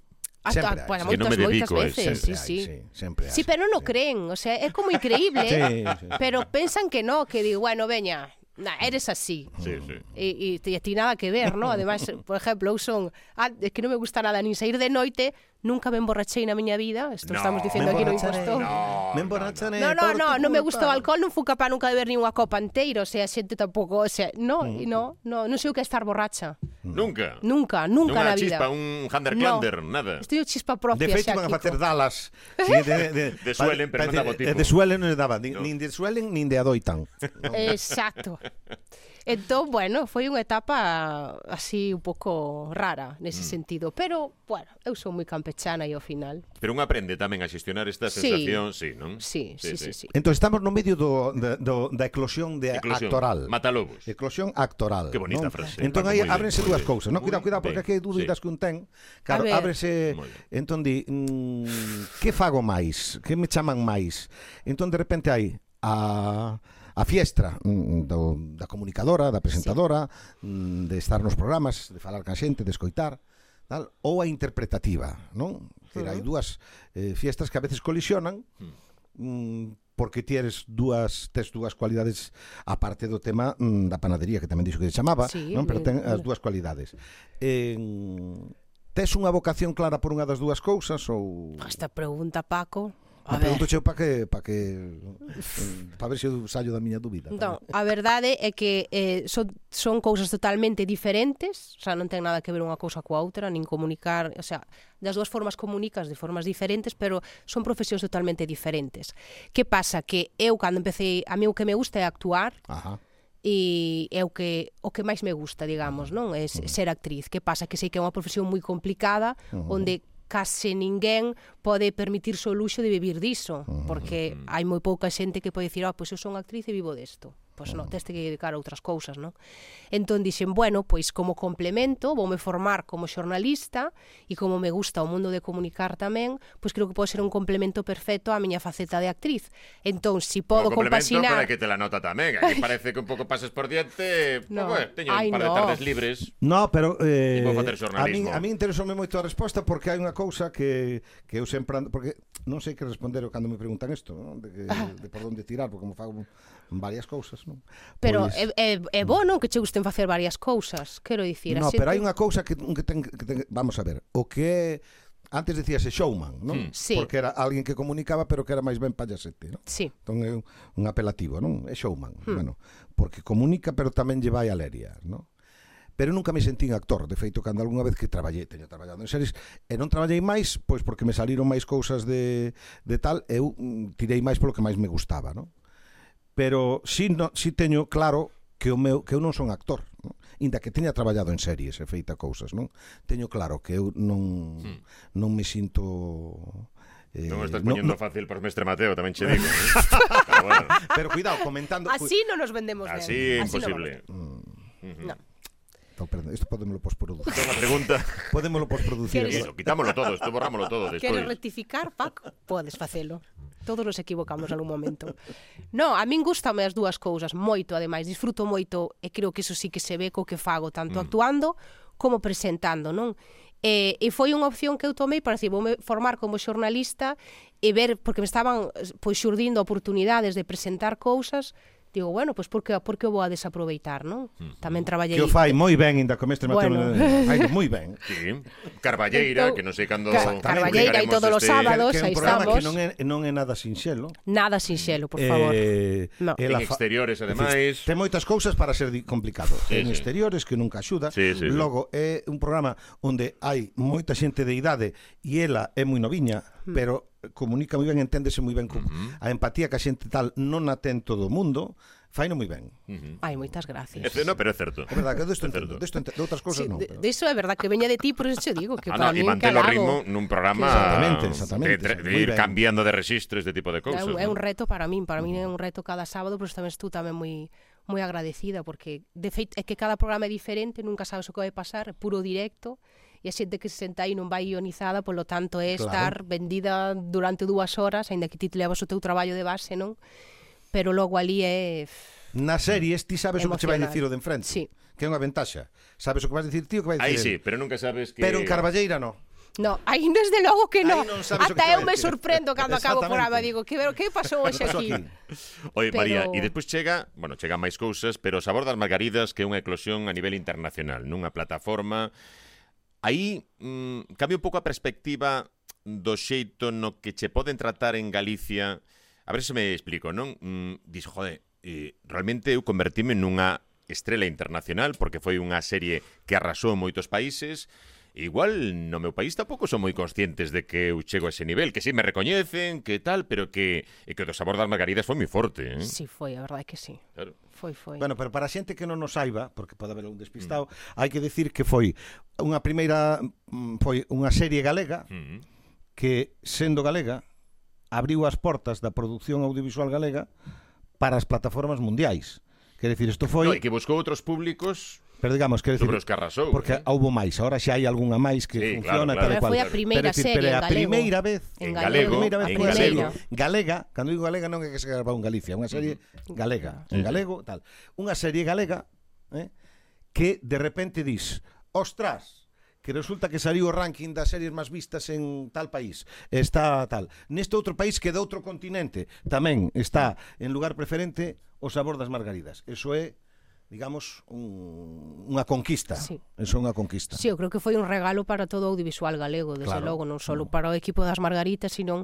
sempre hai,
para
sí.
Que non me
moitas, moitas
dedico a
veces,
eso.
sí,
eh, Sempre hai,
sí.
sí, sempre hai,
sí, pero non o
sí.
creen, o sea, é como increíble,
Sí,
eh?
sí.
pero pensan que no, que digo, bueno, veña, na, eres así.
sí,
Mm,
sí.
E, e, ti- e ti nada que ver, ¿no? Ademais, por exemplo, eu son, ah, es que non me gusta nada nin sair de noite, nunca me emborrachei na miña vida, isto
No,
estamos dicendo aquí no
emborracharei,
impostor.
No, no,
Me emborracharé
No, no,
por
no,
tu
non me
culpa.
gustou o alcohol, non fui capaz nunca de beber nin unha copa inteira, o sea, a xente tampouco, o sea, no, mm. no, no, non sei o que é estar borracha.
mm.
Nunca.
Nunca, nunca
Nunha
na vida. Este-
chispa, un Hunderklander, nada.
Estoy o chispa propia
De feito,
xa,
van a
Kiko.
facer dalas. Sí, de, de, de,
De Suelen, pero non daba o tipo.
De suelen non daba,
No.
nin, nin de suelen, nin de adoitan.
Exacto. Entón, bueno, foi unha etapa así un pouco rara nese mm. sentido, pero, bueno, eu son moi campechana e ao final,
Pero un aprende tamén a xestionar esta
Sí.
sensación, sí, non?
sí, sí, sí, sí. sí.
Entón, estamos no medio do, da- do, da eclosión de
Eclosión.
actoral.
Matalobos.
Eclosión actoral.
Que bonita
non?
frase,
Entón,
Paco, moi
aí
ben,
ábrense
moi
dúas
ben.
cousas, non?
Moi
Cuidado, cuidado, porque
ben,
aquí hai
sí.
dúbidas que un ten. Claro,
A ver.
ábrense...
Moi ben.
Entón, di, mm, que fago máis? Que me chaman máis? Entón, de repente, hai a a fiestra mm, do, da comunicadora, da presentadora, sí. de estar nos programas, de falar con xente, de escoitar, tal, ou a interpretativa, non? Quer, hai dúas eh, fiestas que a veces colisionan, mm, porque ti eres dúas tes dúas cualidades aparte do tema mm, da panadería que tamén dixo que se chamaba,
Sí,
non, pero ten
eh,
as dúas cualidades. En tes unha vocación clara por unha das dúas cousas ou
Esta pregunta, Paco.
Me
A ver.
pregunto cheo para que para que para ver se eu saio da miña dúbida.
Non, Entón, a verdade é que eh, son, son cousas totalmente diferentes, o sea, non ten nada que ver unha cousa coa outra, nin comunicar, o sea, das dúas formas comunicas de formas diferentes, pero son profesións totalmente diferentes. Que pasa? Que eu, cando empecé, a mí o que me gusta é actuar,
Ajá.
e é o que o que máis me gusta, digamos, non? É se- ser actriz. Que pasa que sei que é unha profesión moi complicada onde case ninguén pode permitirse o luxo de vivir diso, porque
Mm-hmm.
hai moi pouca xente que pode dicir, "Ah, pois eu son actriz e vivo desto." Pois non, teste que dedicar a outras cousas, non? Entón dixen, bueno, pois como complemento voume formar como xornalista e como me gusta o mundo de comunicar tamén, pois creo que pode ser un complemento perfecto á miña faceta de actriz. Entón, si
Como
podo
complemento
compasinar...
para que te la nota tamén. Aquí parece que un pouco pases por diante. No.
No.
Pues, bueno, teño
Ai,
un par de
no.
tardes libres.
No, pero
E
eh,
vou facer
a min
xornalismo.
a min interesoume moito a resposta porque hai unha cousa que que eu sempre ando, porque non sei que responder cando me preguntan isto, non? De, que,
Ah.
de por onde tirar, porque como fago varias cousas, non?
Pero
Pois-
é, é, é bo, non? Que che gusten facer varias cousas, quero dicir. a
No,
xente-
pero hai unha cousa que, que, ten, que ten, vamos a ver, o que é- antes decíase showman,
Hmm.
non?
Sí.
Porque era alguén que comunicaba, pero que era máis ben payasete, non?
Sí,
Entón é un un apelativo, non? É showman, bueno, porque comunica, pero tamén lle vai a leria, non? Pero nunca me sentín actor, de feito, cando algunha vez que traballei, teño traballado en series, e non traballei máis, pois porque me saliron máis cousas de, de tal, eu mm, tirei máis polo que máis me gustaba, non? pero si no, si teño claro que o meu que eu non son actor, non? Inda que teña traballado en series e feita cousas, non? Teño claro que eu non non me sinto eh,
Hmm. non o estás
non-
poñendo
non-
fácil por mestre Mateo, tamén che digo. eh. Ah, bueno,
pero cuidado comentando
así non nos vendemos ben.
así é
non
imposible.
Mm.
nos vendemos. No.
Ui, perdón, isto podémolo posproducir.
Unha pregunta.
Podémolo posproducir.
Queres-
Iso, quitámoslo todo, isto borrámoslo todo despois.
Queres rectificar, Paco? Podes facelo. Todos nos equivocamos algún momento. No, a min gustame as dúas cousas moito, ademais, disfruto moito e creo que eso sí que se ve co que fago, tanto mm. actuando como presentando, non? E, e foi unha opción que eu tomei para decir, voume formar como xornalista e ver, porque me estaban eh, pois xurdindo oportunidades de presentar cousas Digo, bueno, pois por que, por que o vou a desaproveitar, non? Tamén traballei...
Que o fai moi ben, ainda con este
Bueno.
bueno. moi ben.
Sí. Carballeira,
Entón,
que non sei cando...
Ca- Carballeira e
publicaremos
todos os
este-
sábados.
que
Todos
é un
aí
programa
estamos.
que non é, non é nada sinxelo.
Nada sinxelo, por favor.
Eh,
No.
En
ela fa-
exteriores, ademais.
Ten moitas cousas para ser di- complicado.
Sí,
en
sí.
exteriores que nunca axuda.
Sí, sí, sí.
Logo é un programa onde hai moita xente de idade e ela é moi noviña,
Mm.
pero comunica moi ben, enténdese moi ben co,
Mm-hmm.
a empatía que a xente tal non a ten todo o mundo, faino moi ben.
Ai, moitas gracias.
É ce- No, pero é certo.
É verdade que eu
É
desto
certo.
entendo, desto entendo, de outras cousas
Sí,
non.
de,
Pero...
de iso é verdad que veña de ti, por eso che digo
Ah,
que para
no, y
mí un
manter o
calado
ritmo nun programa
Exactamente, exactamente,
de, tra- de
muy
ir
ben.
cambiando de registro este tipo de
é
cousas.
un, é
¿no?
un reto para min, para min é un reto cada sábado, pero tamén estou tamén moi moi agradecida porque de feito é que cada programa é diferente, nunca sabes o que vai pasar, é puro directo e a xente que se senta aí non vai ionizada, polo tanto é
Claro.
estar vendida durante dúas horas, aínda que ti te levas o teu traballo de base, non? Pero logo ali é
Nas series ti sabes o que che vai
Emocional.
dicir o de enfrente,
Sí.
que é unha ventaxa. Sabes o que vas dicir ti e o que vai
Aí
dicir.
sí,
el.
pero nunca sabes que...
Pero en Carballeira non.
No, aí desde logo que non.
Aí non sabes o que te
Ata eu
vai
me
decir.
sorprendo cando acabo o programa,
Exactamente.
digo, que que pasou hoxe
Pasou
aquí?
aquí.
Oye,
Pero-
María, e despois chega, bueno, chega máis cousas, pero o sabor das margaridas que é unha eclosión a nivel internacional, nunha plataforma. Aí mm, cambia un pouco a perspectiva do xeito no que che poden tratar en Galicia. A ver se me explico, non? Mm, dis, jode, eh, realmente eu convertime nunha estrela internacional porque foi unha serie que arrasou en moitos países. E Igual no meu país tampouco son moi conscientes de que eu chego a ese nivel, que si me recoñecen, que tal, pero que e que o do sabor das margaridas foi moi forte, eh?
Si foi, a verdade é que si.
Claro.
Foi, foi.
Bueno, pero para a xente que non o saiba, porque pode haber un despistado, mm. hai que decir que foi unha primeira mm, foi unha serie galega
Mm.
que sendo galega abriu as portas da produción audiovisual galega para as plataformas mundiais. Quer decir, isto
No,
foi,
e que buscou outros públicos
pero digamos, quer
sobre
decir,
os que arrasou. eh?
porque houbo máis, ahora xa hai algunha máis que
Sí,
funciona
claro,
tal e
Pero
cual.
foi a
pero,
primeira
é dicir,
serie
pero é
en
a
galego.
primeira vez
En
A primeira vez
en
que
galego.
unha serie galega, cando digo galega non é que se grava en Galicia, unha serie galega, en galego, tal. Unha serie galega, eh, que de repente dis, "Ostras, que resulta que saliu o ranking das series máis vistas en tal país. Está tal. Neste outro país que é de outro continente tamén está en lugar preferente o sabor das margaridas. Eso é digamos, un, unha conquista.
Sí.
Eso é unha conquista.
Sí, eu creo que foi un regalo para todo o audiovisual galego, desde
Claro. Mm.
claro. logo, non só para o equipo das Margaritas, sino,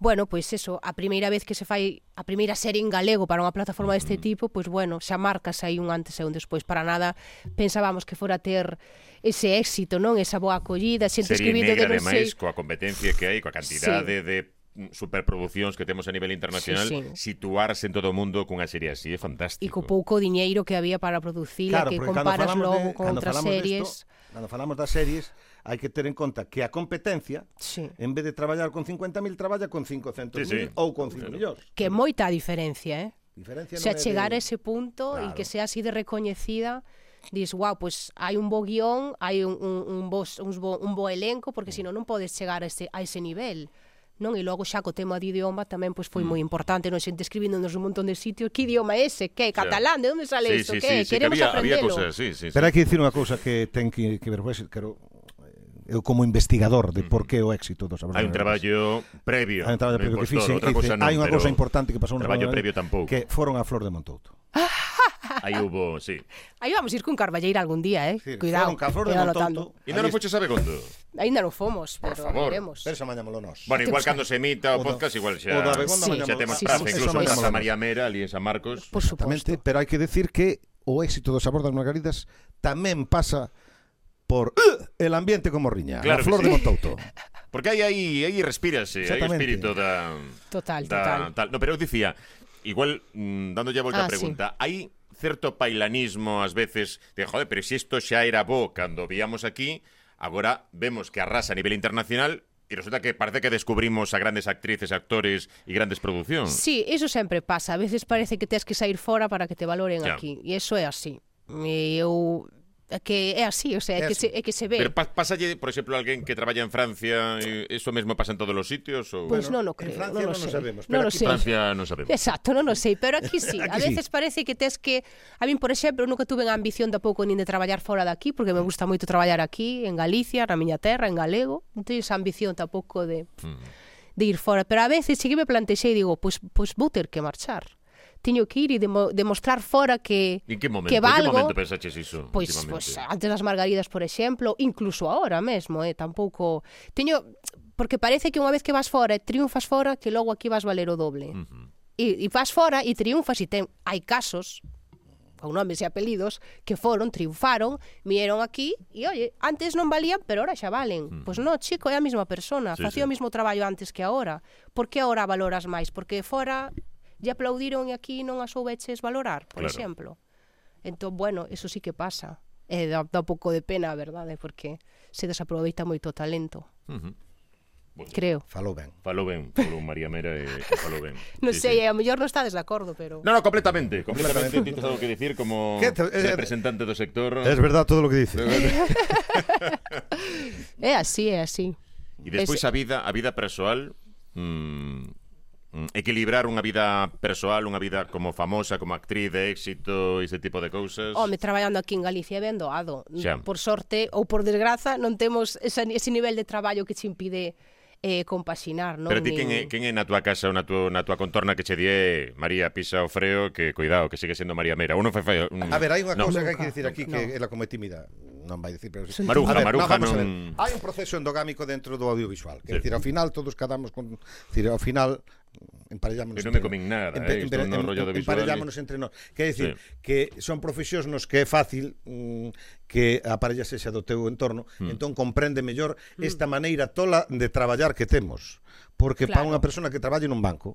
bueno, pois eso, a primeira vez que se fai a primeira serie en galego para unha plataforma deste
Mm.
tipo, pois bueno, xa marcas aí un antes e un despois, para nada pensábamos que fora ter ese éxito, non? Esa boa acollida, xente
Serie
escribindo de
negra,
non sei...
ademais, coa competencia que hai, coa cantidade de mm, superproduccións que temos a nivel internacional,
Sí,
situarse en todo o mundo cunha serie así é fantástico.
E co pouco diñeiro que había para producila, que
porque cando
comparas
falamos
logo
de-
con
cando
outras
falamos
series...
Desto, cando falamos das series, hai que ter en conta que a competencia,
Sí.
en vez de traballar con 50.000, traballa con 500.000
Sí, sí.
ou con 5 millóns.
Que é moita a diferencia, eh?
Diferencia
O sea,
non é de-
chegar a ese punto e
Claro.
que sea así de recoñecida, dis, wow, pues hai un bo guión, hai un, un, un, bo, un, bo, un bo elenco, porque senón non podes chegar a ese, a ese nivel. Non? E logo xa co tema de idioma tamén pois
Mm.
foi moi importante, non xente escribindo nos un montón de sitios, que idioma é ese? Que? Catalán? De onde sale
sí,
isto?
sí,
que?
sí, sí, que
Queremos
había, había
aprendelo.
cousas, sí, sí, sí.
Pero hai que dicir unha cousa que ten que, que ver con eso, quero eh, eu como investigador de por que o éxito dos
Hai un traballo previo.
Hai un traballo
no
previo que
impostor,
fixen,
outra
que
cosa
dicen,
non,
hai unha
pero
cousa importante que pasou no
Traballo
programa
previo tampouco.
que foron a flor de Montouto.
Aí hubo, sí.
Aí vamos ir con Carballeira algún día, eh?
Dicir,
Cuidado.
foron ca flor de
cuidado
Montouto.
E non
aí
o fuches sabe conto.
tanto. Ainda non fomos,
Por
pero
favor.
veremos.
Pero xa mañámolo nós.
Bueno, igual
Temos-
cando se emita o
O do-
podcast, igual xa,
o do Abegondo
xa
mañá
temos
sí,
praza,
sí, sí,
incluso
sí,
en
sí.
Casa María Mera, ali en San Marcos.
Por
Exactamente,
suposto.
pero hai que decir que o éxito do sabor das margaridas tamén pasa por ¡uh! el ambiente como riña,
Claro
a
que
flor
sí.
de Montouto.
Porque aí aí aí respírase, aí o
Exactamente.
espírito da
Total,
da-
total.
tal. No, pero eu dicía, igual mm, dándolle a volta á
Ah, sí.
pregunta, hai certo pailanismo ás veces de, joder, pero se isto xa era bo cando víamos aquí, agora vemos que arrasa a nivel internacional e resulta que parece que descubrimos a grandes actrices, actores e grandes producións.
Sí, eso sempre pasa. A veces parece que tens que sair fora para que te valoren
Ya.
aquí. E eso é así. E eu é que é así, o sea, é,
É
que se,
así.
é que se ve.
Pero pa- pásalle, por exemplo, a alguén que traballa en Francia, e eso mesmo pasa en todos os sitios ou
Pois
Bueno,
non o
en
creo,
Francia
non o
non o
sei.
sabemos,
non
pero
o
aquí
sei.
Francia non sabemos.
Exacto, non o sei, pero aquí sí. A
Aquí sí.
veces parece que tes que... A min, por exemplo, nunca tuve a ambición tampouco nin de traballar fora de aquí, porque me gusta moito traballar aquí, en Galicia, na miña terra, en galego. Non teño esa ambición tampouco
Mm.
de, de ir fora. Pero a veces sí que me plantexei e digo, pois, pois vou ter que marchar. tiño que ir e demo, demostrar fora que
En que momento, en
que
que
valgo. Pues, ah.
momento pensaches iso?
Pois, pois
últimamente?
antes das margaridas, por exemplo, incluso ahora mesmo, eh, tampouco teño porque parece que unha vez que vas fora e triunfas fora, que logo aquí vas valer o doble.
Ujú.
E, e vas fora e triunfas e ten hai casos con nomes e apelidos que foron, triunfaron, vieron aquí e, oye, antes non valían, pero ahora xa valen. Mm. Pois no, chico, é a mesma persona,
Sí,
sí,
sí.
facía sí. o mesmo traballo antes que ahora. Por que ahora valoras máis? Porque fora lle aplaudiron e aquí non a soubeches valorar, por
Claro.
claro. exemplo. Entón, bueno, eso sí que pasa. E dá, dá un pouco de pena, a verdade, porque se desaproveita moito o talento,
Ujú.
creo.
Falou ben.
Falou ben, falou María Mera e, e falou ben.
Non
Sí,
sei,
sí.
sí. a mellor non estades de acordo, pero...
No, no, completamente, completamente.
Completamente.
Tienes algo que decir como
¿Qué te- eh,
representante do sector.
Es verdad todo lo que dice.
É así, é así.
E despois
Ese-
a vida, a vida persoal, mm, mm, equilibrar unha vida persoal, unha vida como famosa, como actriz de éxito, ese tipo de cousas.
Home, traballando aquí en Galicia é ben doado.
Xa.
Por sorte ou por desgraza non temos esa, ese nivel de traballo que che impide eh, compaxinar, non?
Pero ti quen é,
Nin-
quen é na túa casa ou na túa, na túa contorna que che die María Pisa o Freo que cuidado, que sigue sendo María Mera. Uno foi feo. mm,
A ver, hai unha
no.
cousa que hai
Nunca,
que dicir aquí
nunca.
que é la cometimida. Non vai dicir, pero sí.
Maruja,
A ver,
Maruja
vamos a ver.
non-
Hai un proceso endogámico dentro do audiovisual,
Sí.
que sí. decir, ao final todos cadamos con, decir, ao final mm, emparellámonos.
Eu non me
entre-
comín nada, eh, isto no rollo audiovisual
emparellámonos entre nós. Quer
Sí.
dicir, sí. que son profesións nos que é fácil mm, que a parella sexa do teu entorno, mm. entón comprende mellor esta maneira tola de traballar que temos. Porque claro. para
Claro.
unha persona que traballe nun banco,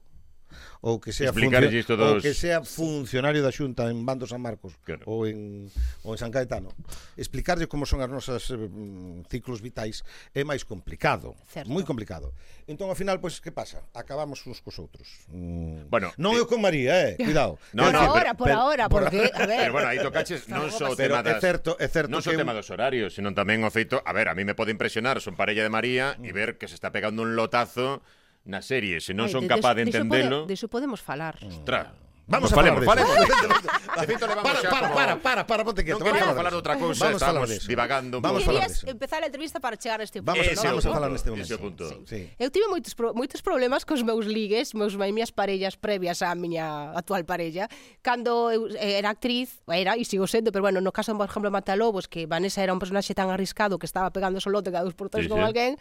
ou que sea
Explicarlle isto dos-
ou que sea funcionario da Xunta en Bando San Marcos
Claro.
ou en ou en San Caetano, explicarlle como son as nosas eh, mm, ciclos vitais é máis complicado,
Certo.
moi complicado. Entón ao final pois que pasa? Acabamos uns cos outros. Mm.
Bueno,
non
eh,
eu con María, eh, cuidado.
No,
por
no,
ahora,
pero-
por ahora, porque a ver.
Pero bueno, aí tocaches non só o tema
Pero é
das...
certo, é certo
Non só o
que
tema dos horarios, senón tamén o feito... A ver, a mí me pode impresionar, son parella de María e ver que se está pegando un lotazo na serie, se non
Ai,
son
de-
capaz de Mm.
diso pode-
entendelo...
Diso podemos falar.
Ostra,
Vamos
Pois
a falar
falemos,
de
falemos.
eso.
De feito, levamos
para,
xa
para,
como-
para, para, para, ponte quieto.
Non
vamos
queríamos
a
falar de outra cousa,
Vamos a falar
estamos
de eso.
divagando un
Vamos a falar de
Querías
eso.
empezar a entrevista para chegar a este punto.
Vamos a,
Ese
vamos a
punto,
falar neste momento.
ese punto.
Sí.
Eu tive moitos, pro, moitos problemas cos meus ligues, meus, as miñas parellas previas á miña actual parella, cando eu era actriz, era e sigo sendo, pero bueno, no caso, por exemplo, Matalobos, que Vanessa era un personaxe tan arriscado que estaba pegando solote cada dos por
Sí,
tres sí, con
sí.
sí. alguén,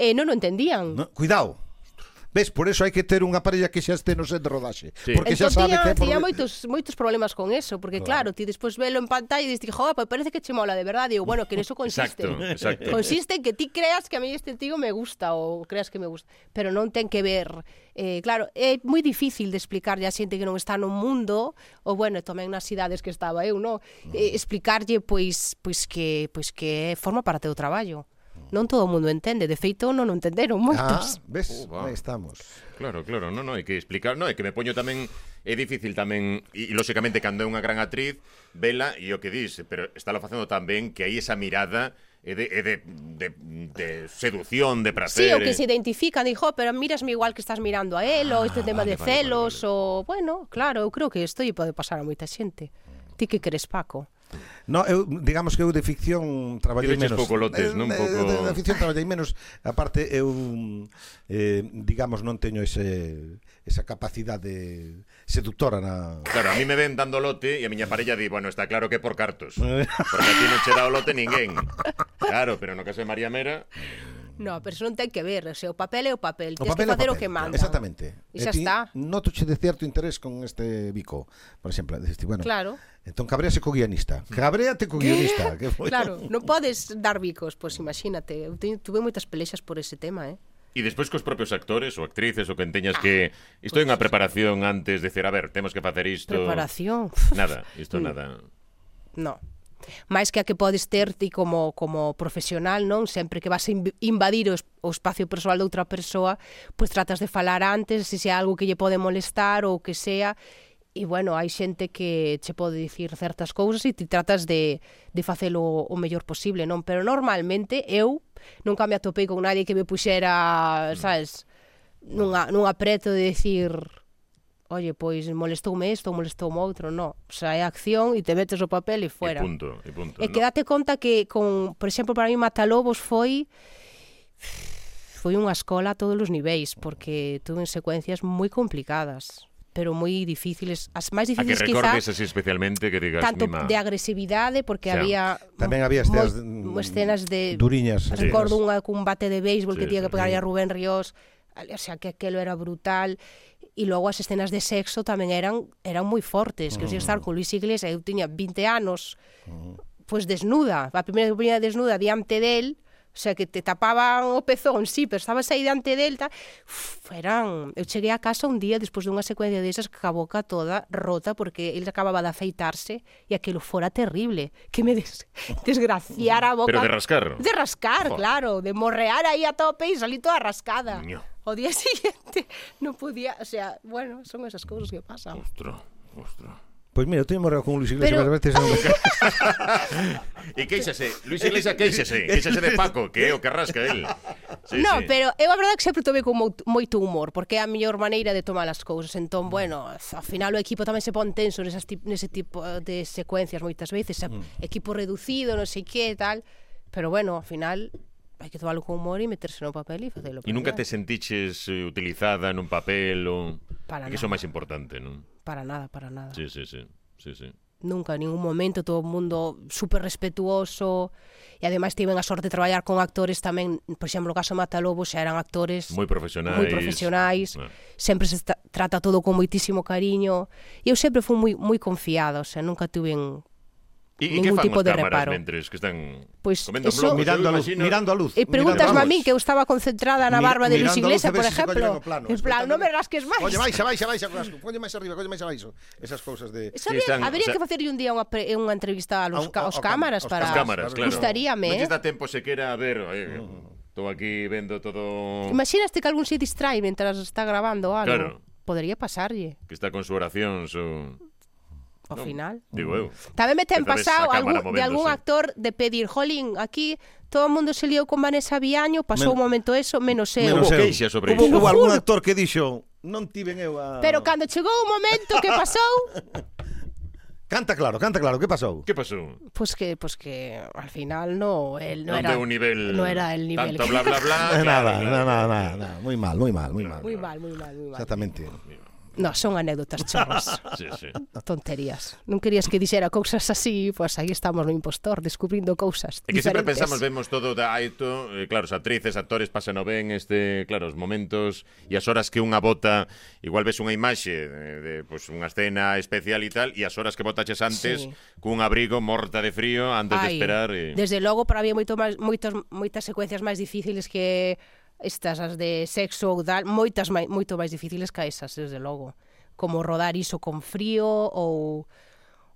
eh, non o entendían.
No, cuidado. Ves, por eso hai que ter unha parella que xa este no set de rodaxe,
Sí.
porque xa sabe
entón, tiña,
que é por...
tiña moitos, moitos problemas con eso, porque claro, ti despois velo en pantalla e diste, joa, pues parece que che mola de verdade, e eu, bueno, que eso consiste.
Exacto, exacto.
Consiste en que ti creas que a mí este tío me gusta ou creas que me gusta, pero non ten que ver. Eh, claro, é moi difícil de explicarlle a xente que non está no mundo, ou bueno, e tamén nas cidades que estaba eu, non?
Mm.
Eh, explicarlle pois pois que pois que forma parte do traballo. Non todo o mundo entende, de feito non o entenderon
Ah,
moitos.
ves,
Oh, va.
aí estamos.
Claro, claro, non, non, hai que explicar, non, é que me poño tamén é difícil tamén e, e lóxicamente cando é unha gran actriz, vela e o que dis, pero estálo facendo tan ben que aí esa mirada é de, é de, de, de sedución, de
Sí,
prazer.
o que se
eh. Ah,
identifican, dijo, "Oh, pero mirasme igual que estás mirando a él, ou este tema
vale,
de
vale,
celos, ou, bueno, claro, eu creo que isto lle pode pasar a moita xente. Ti que crees, Paco?
No, eu, digamos que eu de ficción traballei
Tireches
menos.
pouco lotes, non?
Eh,
Pouco-
De, de, ficción traballei menos. Aparte, eu, mm, eh, digamos, non teño ese, esa capacidade seductora na...
Claro, a mí me ven dando lote e a miña parella di, bueno, está claro que é por cartos. Porque a ti non che dá o lote ninguén. Claro, pero no caso de María Mera,
No, pero eso non ten que ver, o sea, o papel é o papel,
O
tens que
papel é
facer o
papel,
que manda.
Exactamente.
E xa
ti
está.
Notoche de cierto interés con este bico, por exemplo. Diste, bueno,
Claro.
Entón cabréase co guionista. Cabréate co guionista. Que foi?
Claro, non podes dar bicos, pois imagínate, eu teño, tuve moitas pelexas por ese tema, eh.
E despois cos propios actores ou actrices ou quen teñas que...
Ah,
Isto é unha preparación antes de decir, a ver, temos que facer isto...
Preparación. Mm,
Nada, isto nada.
No. Mais que a que podes ter ti como, como profesional, non? Sempre que vas a inv- invadir o, es- o espacio persoal de outra persoa, pois tratas de falar antes, se sea algo que lle pode molestar ou o que sea. E, bueno, hai xente que che pode dicir certas cousas e ti tratas de, de facelo o mellor posible, non? Pero normalmente eu nunca me atopei con nadie que me puxera, sabes, nunha, nunha apreto de decir oye, pois molestoume isto, molestoume outro, no. O sea, é acción e te metes o papel e fuera.
E punto, e punto.
E que
non?
date conta que, con, por exemplo, para mí Matalobos foi foi unha escola a todos os niveis, porque tuve secuencias moi complicadas. pero moi difíciles, as máis
A que
difíciles quizá
recordes así especialmente que digas
tanto
"Mima".
de agresividade porque
Xa.
había
Tamén había
mo-
escenas,
mo- escenas de
Duriñas.
Sí.
Eh, recordo unha cun bate de béisbol
Sí,
que tiña
sí.
que pegar a Rubén Ríos, o sea, que aquelo era brutal e logo as escenas de sexo tamén eran eran moi fortes, que eu sei estar
Mm.
con Luis Iglesias, eu tiña 20 anos, pois desnuda, a primeira que poñía desnuda diante del, o sea, que te tapaban o pezón, sí, pero estabas aí diante del, ta... Uf, eran... Eu cheguei a casa un día despois dunha secuencia desas que a boca toda rota porque ele acababa de afeitarse e aquilo fora terrible, que me des... desgraciara a boca.
Pero de rascar.
De rascar,
Joder.
claro, de morrear ahí a tope y salir toda rascada.
Ño.
O día siguiente no podía, o sea, bueno, son esas cosas que pasan.
Ostras, ostras.
Pois mira, eu teño morreo con Luis Iglesias
Pero-
varias veces. e non-
E queixase, Luis Iglesias queixase, queixase de Paco, que é o que rasca el. Sí,
no,
sí.
pero eu a verdade que sempre tomei con mout- moito humor, porque é a mellor maneira de tomar as cousas.
Mm.
Entón, bueno, ao final o equipo tamén se pon tenso nesas tip, nese tipo de secuencias moitas veces, mm. equipo reducido, non sei que, tal, pero bueno, ao final hai que tomarlo con humor e meterse no papel e facelo.
E nunca te sentiches eh, utilizada nun papel ou...
Para
É que iso é
nada.
máis importante, non?
Para nada, para nada.
Sí, sí, sí. Sí, sí.
Nunca, en ningún momento, todo o mundo super respetuoso e ademais tiven a sorte de traballar con actores tamén, por exemplo, o caso Matalobos xa eran actores
Moi profesionais.
moi profesionais,
Ah.
sempre se tra- trata todo con moitísimo cariño e eu sempre fui moi moi confiada, o sea, nunca tuven
E, e que
Ningún
fan
tipo
as
de
cámaras
reparo.
mentres que están
Pois
comendo
eso-
blocos, eu
mirando, a luz,
imagino?
mirando a luz.
E Eh, preguntas
mirando luz.
a min que eu estaba concentrada na
Mi-
barba de Luis
mirando a luz a
Iglesias,
ver
por
se se colle no
exemplo.
plano,
en plan, non me rasques máis.
Olle, baixa, baixa, baixa, coño, coño máis arriba, coño máis abaixo. Esas cousas de
Eso habría,
Sí, están-
habría
o sea-
que facerlle un día unha, pre- unha entrevista
Ao-
aos, ca-
ao- ao
aos
cam-
cámaras
aos
para...
As cámaras, claro.
Claro.
Gustaríame,
Non
eh.
lles dá tempo sequera a ver... Estou aquí vendo todo...
Imaginaste que algún se distrae mentras está grabando algo.
Oh. Claro.
Podería pasarlle,
Que está con su oración, su...
ao
Non,
final.
Digo eu.
Tamén me ten
Esta vez
pasado
a cámara
algún, de algún
movéndose.
actor de pedir, jolín, aquí todo o mundo se liou con Vanessa Viaño, pasou
Men-
un momento eso, menos eu.
Menos Hubo
eu.
queixa sobre
Hubo,
iso.
hubo algún actor que dixo, non tiven eu a
Pero cando chegou o momento que pasou,
Canta claro, canta claro, que pasou?
Que pasou?
pois que pois que al final no, el no
Non
era
deu nivel...
no era el nivel.
Tanto bla, bla, bla... claro,
Nada, Eh, nada,
Ah, claro.
nada, nada, nada, moi mal, moi mal, moi mal.
Moi mal, moi mal, moi mal.
Exactamente.
No, son anécdotas chorras,
Sí, sí.
tonterías. Non querías que dixera cousas así, pois aí estamos no impostor descubrindo cousas
É que sempre
diferentes.
pensamos, vemos todo da Aito, eh, claro, as actrices, actores pasan o ben este, claro, os momentos e as horas que unha bota, igual ves unha imaxe eh, de, de pues, unha escena especial e tal, e as horas que botaches antes
Sí.
cun abrigo morta de frío antes de
Ai,
esperar eh. e...
Desde logo, para mí, moito máis, moitos, moitas secuencias máis difíciles que estas, as de sexo ou tal, moitas mai, moito máis difíciles que esas, desde logo. Como rodar iso con frío ou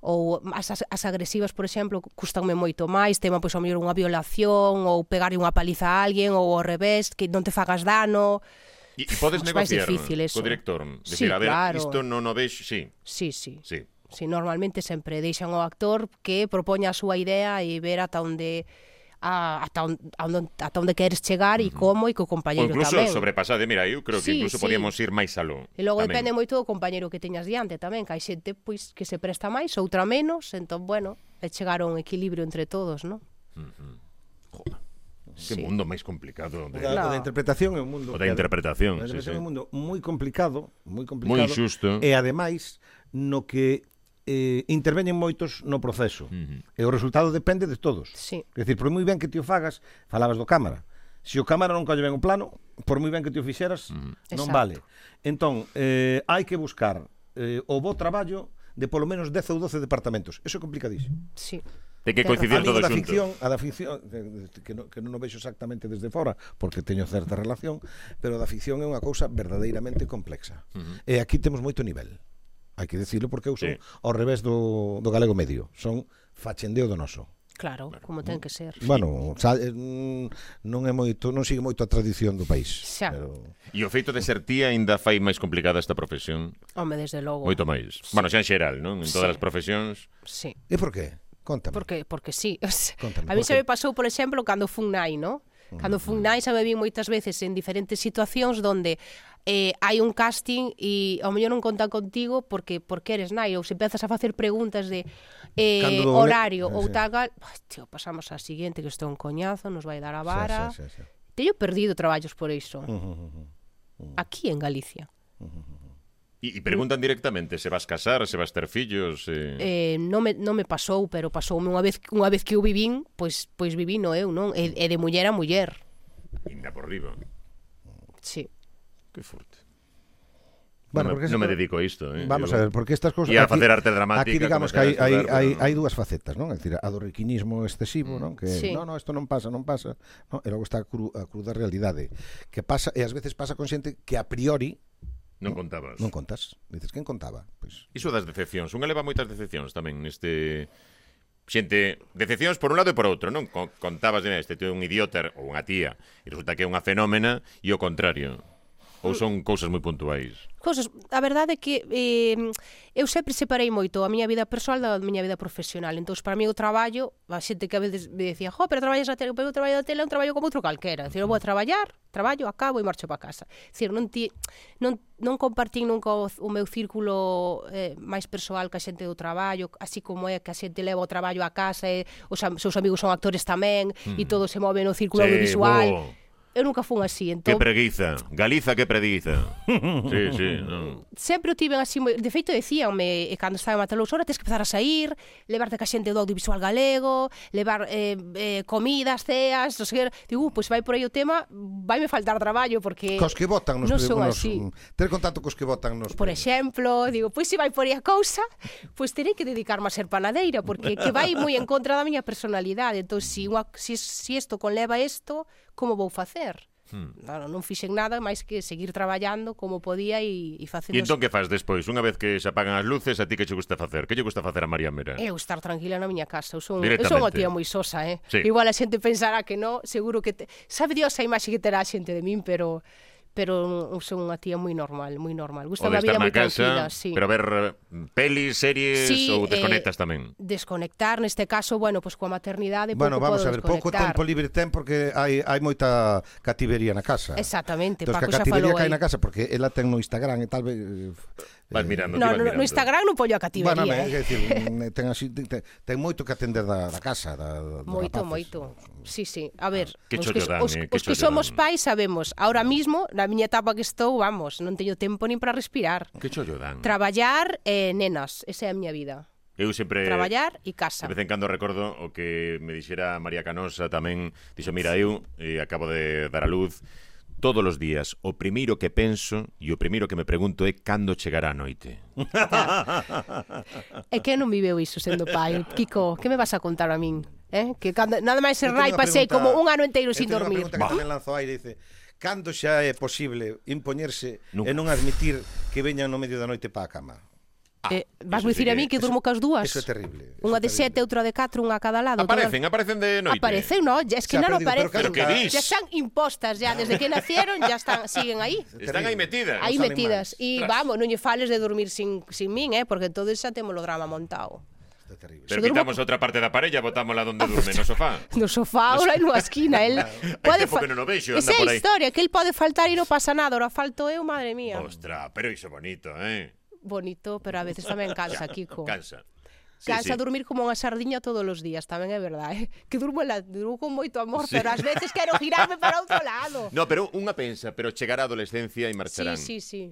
ou as, as- as agresivas, por exemplo, custanme moito máis, tema, pois, ao mellor unha violación ou pegarle unha paliza a alguén ou ao revés, que non te fagas dano.
E, e podes
Os máis
negociar
difícil eso.
co director.
Sí,
Decir, a ver,
claro.
isto non o vexo, sí,
Sí, sí.
sí.
Si normalmente sempre deixan ao actor que propoña a súa idea e ver ata onde a, ata onde ata onde queres chegar e como e co
Ou
compañeiro
incluso
tamén.
sobrepasade, mira, eu creo que
Sí,
incluso
sí.
podíamos ir máis aló.
E logo
tamén.
depende moito do compañeiro que teñas diante tamén, que hai xente pois que se presta máis, outra menos, entón bueno, é chegar a un equilibrio entre todos, non?
Que mundo máis complicado.
O
De...
da,
Claro.
o da interpretación é un mundo
O da
que-
interpretación,
o da
sí, sí.
interpretación é un mundo moi complicado, moi complicado.
Moi inxusto.
E ademais no que eh, interveñen moitos no proceso. Uh -huh. E o resultado depende de todos.
Sí.
É dicir, por moi ben que ti o fagas, falabas do cámara. Se o cámara non colle ben o plano, por moi ben que ti o fixeras, non
Exacto.
vale. Entón, eh, hai que buscar eh, o bo traballo de polo menos 10 ou 12 departamentos. Eso é complicadísimo.
Sí.
Ten que
Ten
coincidir
A min
todo
a da
xunto.
ficción, a da ficción eh, que non, que non o vexo exactamente desde fora, porque teño certa relación, pero a da ficción é unha cousa verdadeiramente complexa. Uh -huh. E aquí temos moito nivel. Hai que decirlo porque eu son
Sí.
sí. ao revés do, do galego medio. Son fachendeo do noso.
Claro, como
Mm.
ten que ser.
Bueno, xa, eh, mm, non é moito, non sigue moito a tradición do país.
Xa.
Pero...
E o feito de ser tía aínda fai máis complicada esta profesión.
Home, desde logo.
Moito máis. Bueno, xa en xeral, non? En todas as profesións.
Sí.
E por qué? Contame.
Porque porque sí. O sea,
Contame,
a mí
por
se
qué?
me pasou, por exemplo, cando fun nai, ¿no? Cando
Mm.
fun nai xa me vi moitas veces en diferentes situacións donde eh, hai un casting e ao mellor non contan contigo porque porque eres nai ou se empezas a facer preguntas de eh,
Cando do-
horario
Eh,
ou
sí.
tal, gal- Ai, tío, pasamos á siguiente que isto é un coñazo, nos vai dar a vara.
Xa, xa, xa, xa.
Teño perdido traballos por iso. Aquí en Galicia.
E, e preguntan directamente se vas casar, se vas ter fillos, se...
Eh, non, me, non me pasou, pero pasoume unha vez unha vez que eu vivín, pois pois viví no eu, non? E, e de muller a muller.
Inda por riba.
Sí.
Que forte.
Bueno,
non me,
porque
non me
se-
dedico a isto, eh.
Vamos
eu-
a ver, porque estas cosas...
E a facer arte dramática,
Aquí digamos que
comezar
hai,
a
hai,
estudar,
hai,
pero-
hai dúas facetas, non? É dicir, a do riquinismo excesivo, non? Que,
Mm, Sí.
no, no, isto non pasa, non pasa. No? E logo está a, cru, a cruda realidade. Que pasa, e ás veces pasa con xente que a priori
Non contabas.
non contas. Dices, quen contaba? Pois,
Iso das decepcións. Unha leva moitas decepcións tamén neste... Xente, decepcións por un lado e por outro, non? Co- Contabas de este tío é un idiota ou unha tía e resulta que é unha fenómena e o contrario. Ou son cousas moi puntuais.
Cousas, a verdade é que eh, eu sempre separei moito a miña vida persoal da miña vida profesional. Entón, para mí o traballo, a xente que a veces me decía, jo, pero traballas na tele, pero o traballo da tele é un traballo como outro calquera. Dicir, eu vou a traballar, traballo, acabo e marcho para casa. Dicir, non, ti, non, non compartín nunca o, o meu círculo eh, máis persoal que a xente do traballo, así como é que a xente leva o traballo a casa e os am- seus amigos son actores tamén e todo se move no círculo
Mm. Sí,
audiovisual.
bo.
Eu nunca fun así,
Que
entón
preguiza. Galiza que preguiza. sí, sí, non.
sempre o tiven así, moi- de feito decíanme e cando estaba en Matalos, ora tes que empezar a sair, levarte ca xente do audiovisual galego, levar eh, eh, comidas, ceas, non sei que, digo, "Uh, pois vai por aí o tema, vaime faltar traballo porque
cos que votan nos,
non Eh, son
nos
así.
ter contacto cos que votan nos
Por exemplo, digo, pois se vai por aí a cousa, pois terei que dedicarme a ser panadeira, porque que vai moi en contra da miña personalidade. Entón, se, unha, se, se isto conleva isto, como vou facer? Hmm. Non, non fixen nada máis que seguir traballando como podía e,
E
e facendo
entón que fas despois? Unha vez que se apagan as luces, a ti que che gusta facer? Que lle gusta facer a María Mera?
Eu estar tranquila na miña casa, eu son, eu
Directamente.
son unha tía moi sosa, eh?
Sí.
Igual a xente pensará que non, seguro que te... sabe Dios a imaxe que terá a xente de min, pero pero eu son unha tía moi normal, moi normal.
O
Gusta
de
a
estar
vida
na
moi
casa,
tranquila, sí.
pero ver eh, pelis, series
Sí,
ou
eh,
desconectas tamén?
Desconectar, neste caso, bueno, pois coa maternidade
Bueno,
pouco
vamos
podo
a ver, pouco
desconectar.
tempo libre ten porque hai, hai moita cativería na casa.
Exactamente,
Entón, que
Paco
a
xa
cativería
falou
que hai
aí.
na casa porque ela ten no Instagram e tal vez eh,
Vas mirando,
No,
ti vas
no,
mirando.
no Instagram non pollo a cativería,
Bueno,
eh?
ben, é dicir, mm, ten así ten, ten moito que atender da, da casa, da, da
Moito,
rapaces.
moito. Sí, sí. A ver,
que
os
chollo
que,
dan,
os,
eh, que
os que
chollo
somos
dan.
pais sabemos. Ahora mismo, na miña etapa que estou, vamos, non teño tempo nin para respirar.
Que chollo dan?
Traballar e eh, nenas, esa é a miña vida.
Eu sempre...
Traballar e casa.
Eh, De vez en cando recordo o que me dixera María Canosa tamén, dixo, mira, eu eh, acabo de dar a luz todos os días. O primeiro que penso e o primeiro que me pregunto é cando chegará a noite.
E que non viveu iso sendo pai? Kiko, que me vas a contar a min? Eh? Que cando, nada máis
Eu teño
errai
unha
pasei
pregunta-
como un ano
eu
enteiro sin
teño unha
dormir.
pregunta que tamén lanzo ao aire dice, cando xa é posible impoñerse
Nunca.
e non admitir que veñan no medio da noite para a cama?
eh, vas
Ah, eso sí
dicir
que-
a mí que
eso-
durmo cas dúas?
eso é terrible, eso é
Unha de sete,
terrible.
outra de catro, unha a cada lado.
Aparecen, aparecen de
Todas...
noite.
Aparecen, no, ya- es que
O sea,
non
pero digo, pero
aparecen.
claro, Pero que dis?
Ya están impostas, ya, desde que nacieron, ya están, siguen aí.
Están aí metidas.
Os
Aí
animais.
metidas. E
Eh, Tras.
vamos, non lle fales de dormir sin, sin min, eh, porque todo xa temos o drama montado.
Isto é terrible.
Pero
Se durmo- Ah,
quitamos outra parte da parella, botámola donde durme, no sofá.
no sofá ou lá nunha esquina, el pode
tempo que non o vexo,
Esa
anda por
é a
aí.
historia, que el pode faltar e non pasa nada, ora falto eu, madre mía.
Ostra, pero iso bonito, eh?
Bonito, pero a veces tamén cansa, Kiko.
Cansa. Sí,
Cansa
sí.
dormir como unha sardiña todos os días, tamén é verdade. Eh? Que durmo, la, durmo con moito amor, pero ás veces quero girarme para outro lado.
No, pero unha pensa, pero chegará a adolescencia e
Sí,
marcharán.
sí, sí.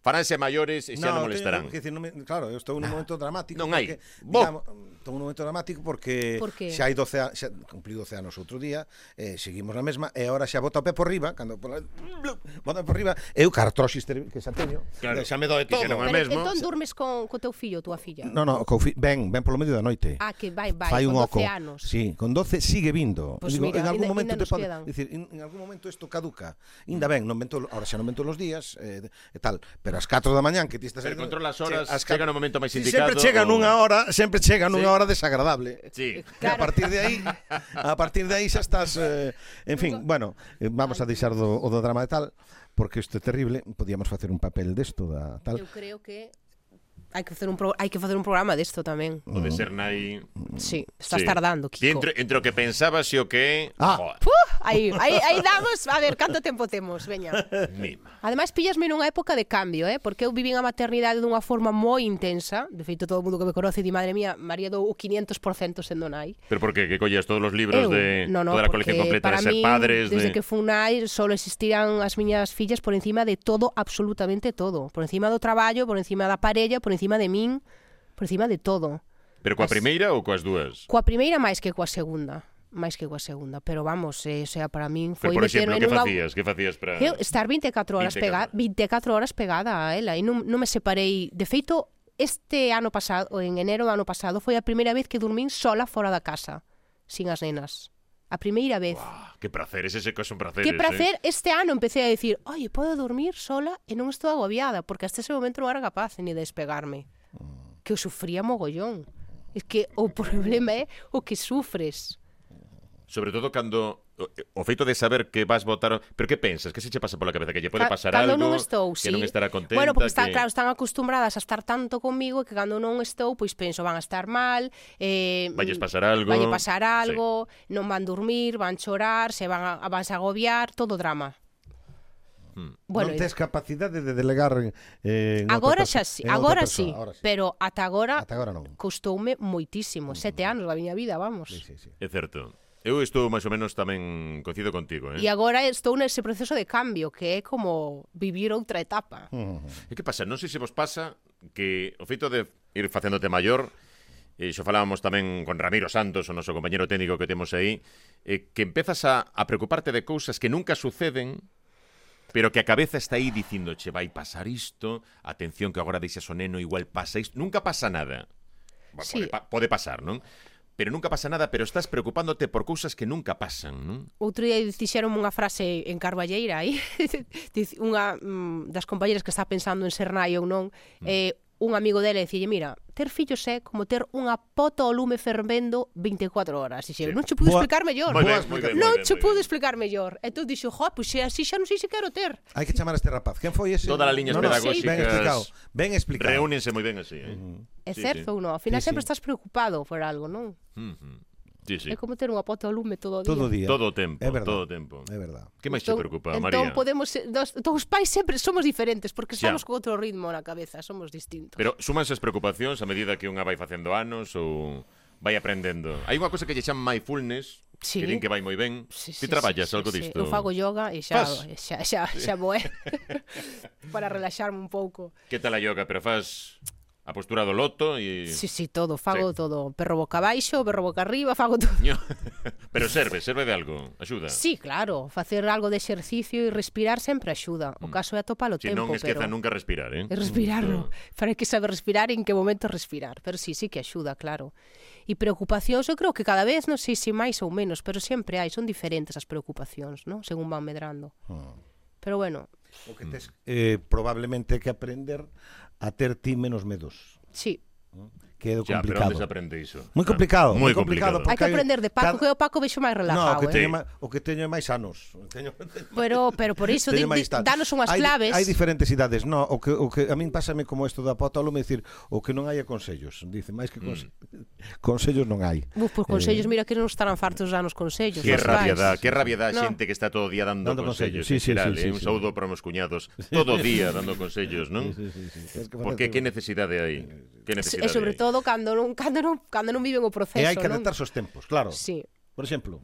Faránse maiores e xa non
teño-
molestarán.
que dicir, non me, claro, eu estou nun momento dramático.
Non hai.
porque,
Bo.
Digamos, estou nun momento dramático porque
Por que?
xa hai 12 anos, xa cumplí 12 anos outro día, eh, seguimos na mesma, e agora xa bota o pé por riba, cando pola, bota por riba, eu cartrosis ter- que xa teño,
Claro.
eh, xa me doe
Que xa
todo.
non é
Pero
mesmo.
entón durmes con, co teu fillo ou tua filla?
No, no, co, fi- ven, ven polo medio da noite.
Ah, que vai, vai,
Fai
con
un oco.
12 anos.
Sí, con 12 sigue vindo.
Pois mira,
en algún
ainda-
momento
ainda nos
pode-
quedan.
dicir, en, en algún momento isto caduca. Inda ben, non vento, ahora xa non vento los días eh, e tal, pero ás 4 da mañán que ti estás
Pero
saindo-
controla as horas,
Sí, ás
chega
catro-
no momento máis
Sí,
indicado,
Sempre chega
ou-
nunha hora, sempre chega nunha
Sí.
hora
Eh,
desagradable.
Sí.
E a partir de aí, a partir de aí xa estás, eh, en fin, bueno, eh, vamos a deixar do, o do drama e tal, porque isto é terrible, podíamos facer un papel desto da tal.
Eu creo que hai que facer un pro, hai que facer un programa desto tamén.
O de ser nai...
Sí, estás
Mm. Sí.
tardando,
Ti
Kiko.
Entre, entre o que pensabas e o que...
Ah.
Joder,
Puh, aí, aí, aí damos, a ver, canto tempo temos, veña.
mima.
Ademais, pillasme nunha época de cambio, eh? porque eu vivín a maternidade dunha forma moi intensa. De feito, todo o mundo que me conoce di, madre mía, María dou o 500% sendo nai.
Pero por que que collas todos los libros de
no, no,
toda la
porque
colección completa
para
de ser
min,
padres
Desde
de
que fun nai, só existirán as miñas fillas por encima de todo, absolutamente todo. Por encima do traballo, por encima da parella, por encima de min, por encima de todo.
Pero coa
as-
primeira ou coas dúas?
Coa primeira máis que coa segunda máis que coa segunda, pero vamos, eh, o sea, para min
Pero,
foi
por exemplo,
meterme
que
nunha-
facías? Que facías para
Eu estar 24 horas
24
pegada, 24 horas pegada a ela e non, non me separei. De feito, este ano pasado, ou en enero do ano pasado, foi a primeira vez que dormín sola fora da casa, sin as nenas. A primeira vez.
Ah, que praceres, ese que son praceres. Eh?
Que prazer, este ano empecé a decir, "Oye, podo dormir sola e non estou agobiada", porque hasta ese momento non era capaz ni de despegarme.
Mm.
Que eu sufría mogollón. Es que o problema é o que sufres.
Sobre todo cando o, o feito de saber que vas votar, pero que pensas? Que se che pasa pola cabeza que lle pode
Ca-
pasar
cando
algo?
non estou,
que
sí.
non estará contenta,
Bueno, porque están,
que...
claro, están acostumbradas a estar tanto comigo que cando non estou, pois penso, van a estar mal, eh,
Valles pasar algo.
Valle pasar algo, non van dormir, van chorar, se van a, a- vas a agobiar, todo drama. Bueno,
Hmm.
non
eh,
tes capacidade de delegar en, eh, en
agora
outra
xa
perso-
sí,
en outra
agora sí,
persoa, agora sí.
pero ata agora
Ata agora non.
costoume moitísimo, sete anos da miña vida, vamos.
Sí, sí, sí.
É certo. Eu estou máis ou menos tamén coincido contigo,
E
eh?
agora estou nese proceso de cambio, que é como vivir outra etapa.
E que pasa? Non sei se vos pasa que o feito de ir facéndote maior E xo falábamos tamén con Ramiro Santos, o noso compañero técnico que temos aí, eh, que empezas a, a preocuparte de cousas que nunca suceden, pero que a cabeza está aí dicindoche, vai pasar isto, atención que agora deixas o neno, igual pasa isto, nunca pasa nada. Bueno,
Sí.
pode, pa- pode pasar, non? Pero nunca pasa nada, pero estás preocupándote por cousas que nunca pasan, non?
Outro día dixeron unha frase en Carballeira aí, diz- unha mm, das compañeiras que está pensando en ser nai ou non,
Mm.
eh, un amigo dela dicille, mira, ter fillos é como ter unha pota ao lume fervendo 24 horas.
Sí.
Dixe, non che pude
Boa-
explicar mellor.
Moi ben, moi ben, moi
Non
ben,
che
moi ben.
pude explicar mellor. E tú dixo, jo, pois se así xa non sei se quero ter.
Hai que chamar a este rapaz. Quen foi ese?
Toda la liña
No, no,
pedagógicas
Ben explicado. Ben explicado.
Reúnense moi ben así, eh?
É
Sí, sí.
certo ou non? Ao final
Sí,
sempre
sí.
estás preocupado por algo, non?
Mhm. Sí, sí.
É como ter unha pota ao lume todo o día.
Todo o día.
Todo o tempo,
É verdade.
todo o tempo.
É verdade.
Que máis te
Entón-
preocupa,
entón
María?
podemos ser- dos, dos pais sempre somos diferentes porque
Xa.
somos con outro ritmo na cabeza, somos distintos.
Pero súmanse as preocupacións a medida que unha vai facendo anos ou vai aprendendo. Hai unha cosa que lle chaman mindfulness,
Sí.
que din que vai moi ben. Ti traballas algo disto?
Eu fago yoga e xa,
Fas?
xa, xa, xa moe para relaxarme un pouco.
Que tal a yoga? Pero faz a postura do loto e...
Sí, sí, todo, fago todo. Perro boca abaixo, perro boca arriba, fago todo.
Pero serve, serve de algo, axuda.
Sí, claro, facer algo de exercicio e respirar sempre axuda. O caso é atopar
Mm.
o
Si
tempo,
non esqueza
pero...
nunca respirar, eh?
É respirarlo. Pero hai que saber respirar e en que momento respirar. Pero sí, sí que axuda, claro. E preocupacións, eu creo que cada vez, non sei se máis ou menos, pero sempre hai, son diferentes as preocupacións, non? Según van medrando.
Ah.
Pero bueno,
O que
Mm.
tes eh, probablemente que aprender a ter ti menos medos,
sí.
que é do
Ya, pero
complicado.
onde se aprende iso?
Moi complicado,
moi
moi
complicado.
complicado. Porque
Hai que
hai-
aprender de
cada-
Paco, que o Paco vexo máis
No, o
relajado,
que
eh?
teño,
Sí.
ma- o que teño é máis anos. O Teño,
Pero, pero por iso, di,
teño
di,
máis tal.
danos unhas
hai,
claves.
Hai diferentes idades, no, o que, o que a min pásame como isto da pota ao lume dicir, o que non hai é consellos. Dice,
Mm.
máis que conse consellos non hai.
Buf, pois consellos, mira que non estarán fartos danos consellos.
Que
os
rabia dá,
pais.
que rabia dá a
No.
xente que está todo o día dando,
Dando
consellos.
consellos, sí,
en
sí,
xeral, eh?
sí, sí,
Un
sí.
saúdo para meus cuñados, todo o día dando consellos, non?
Tens que facer
Porque que
todo.
necesidade hai? Que
E
necesidade hai?
sobre todo cando non, cando non, cando non viven o proceso,
E hai que
non?
adaptarse aos tempos, claro.
Sí.
Por exemplo,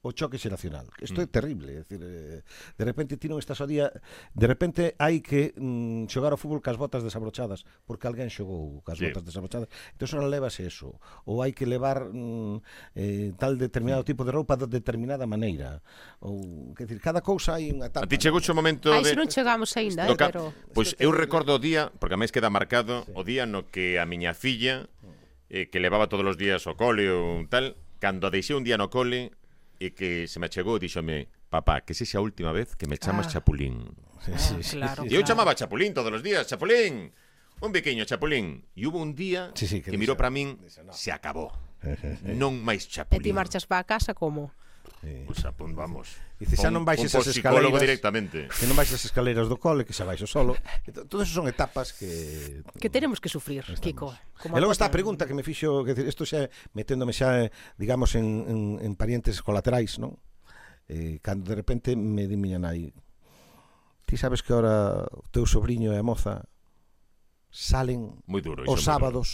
o choque xeracional. Isto é terrible, é dicir, eh, de repente ti non estás ao día, de repente hai que mm, xogar ao fútbol cas botas desabrochadas, porque alguén xogou cas
Sí.
botas desabrochadas. Entón ora levas eso, ou hai que levar mm, eh, tal determinado tipo de roupa de determinada maneira, ou que dicir, cada cousa hai
A
unha etapa.
ti chegou o momento
Aí
de...
se non chegamos aínda, eh,
do cap-
pero...
Pois eu recordo o día, porque a máis queda marcado, o día no que a miña filla, eh, que levaba todos os días ao cole ou tal, cando a deixei un día no cole, e que se me achegou e díxome, papá, que sexa a última vez que me chamas
Ah.
Chapulín.
Ah, claro,
E eu
claro.
chamaba Chapulín todos os días, Chapulín, un pequeño Chapulín. E hubo un día
Sí, sí,
que,
que
mirou
dixo-
para min, se acabou. non máis
E ti
Chapulín.
marchas para casa como?
Sí.
Pois apun, vamos.
Dice, xa non baixes
pon
as
psicólogo
escaleiras.
directamente.
Que non vais as escaleiras do cole, que xa vais o solo. Entón, Todo eso son etapas que...
Que teremos que sufrir, Kiko. eh, como
e logo
a
está a
propia-
pregunta que me fixo, que decir, isto xa meténdome xa, eh, digamos, en, en, en parientes colaterais, non? Eh, cando de repente me di miña nai, ti sabes que ahora o teu sobrinho e a moza salen
Moi duro. iso, moi
os
duro.
sábados,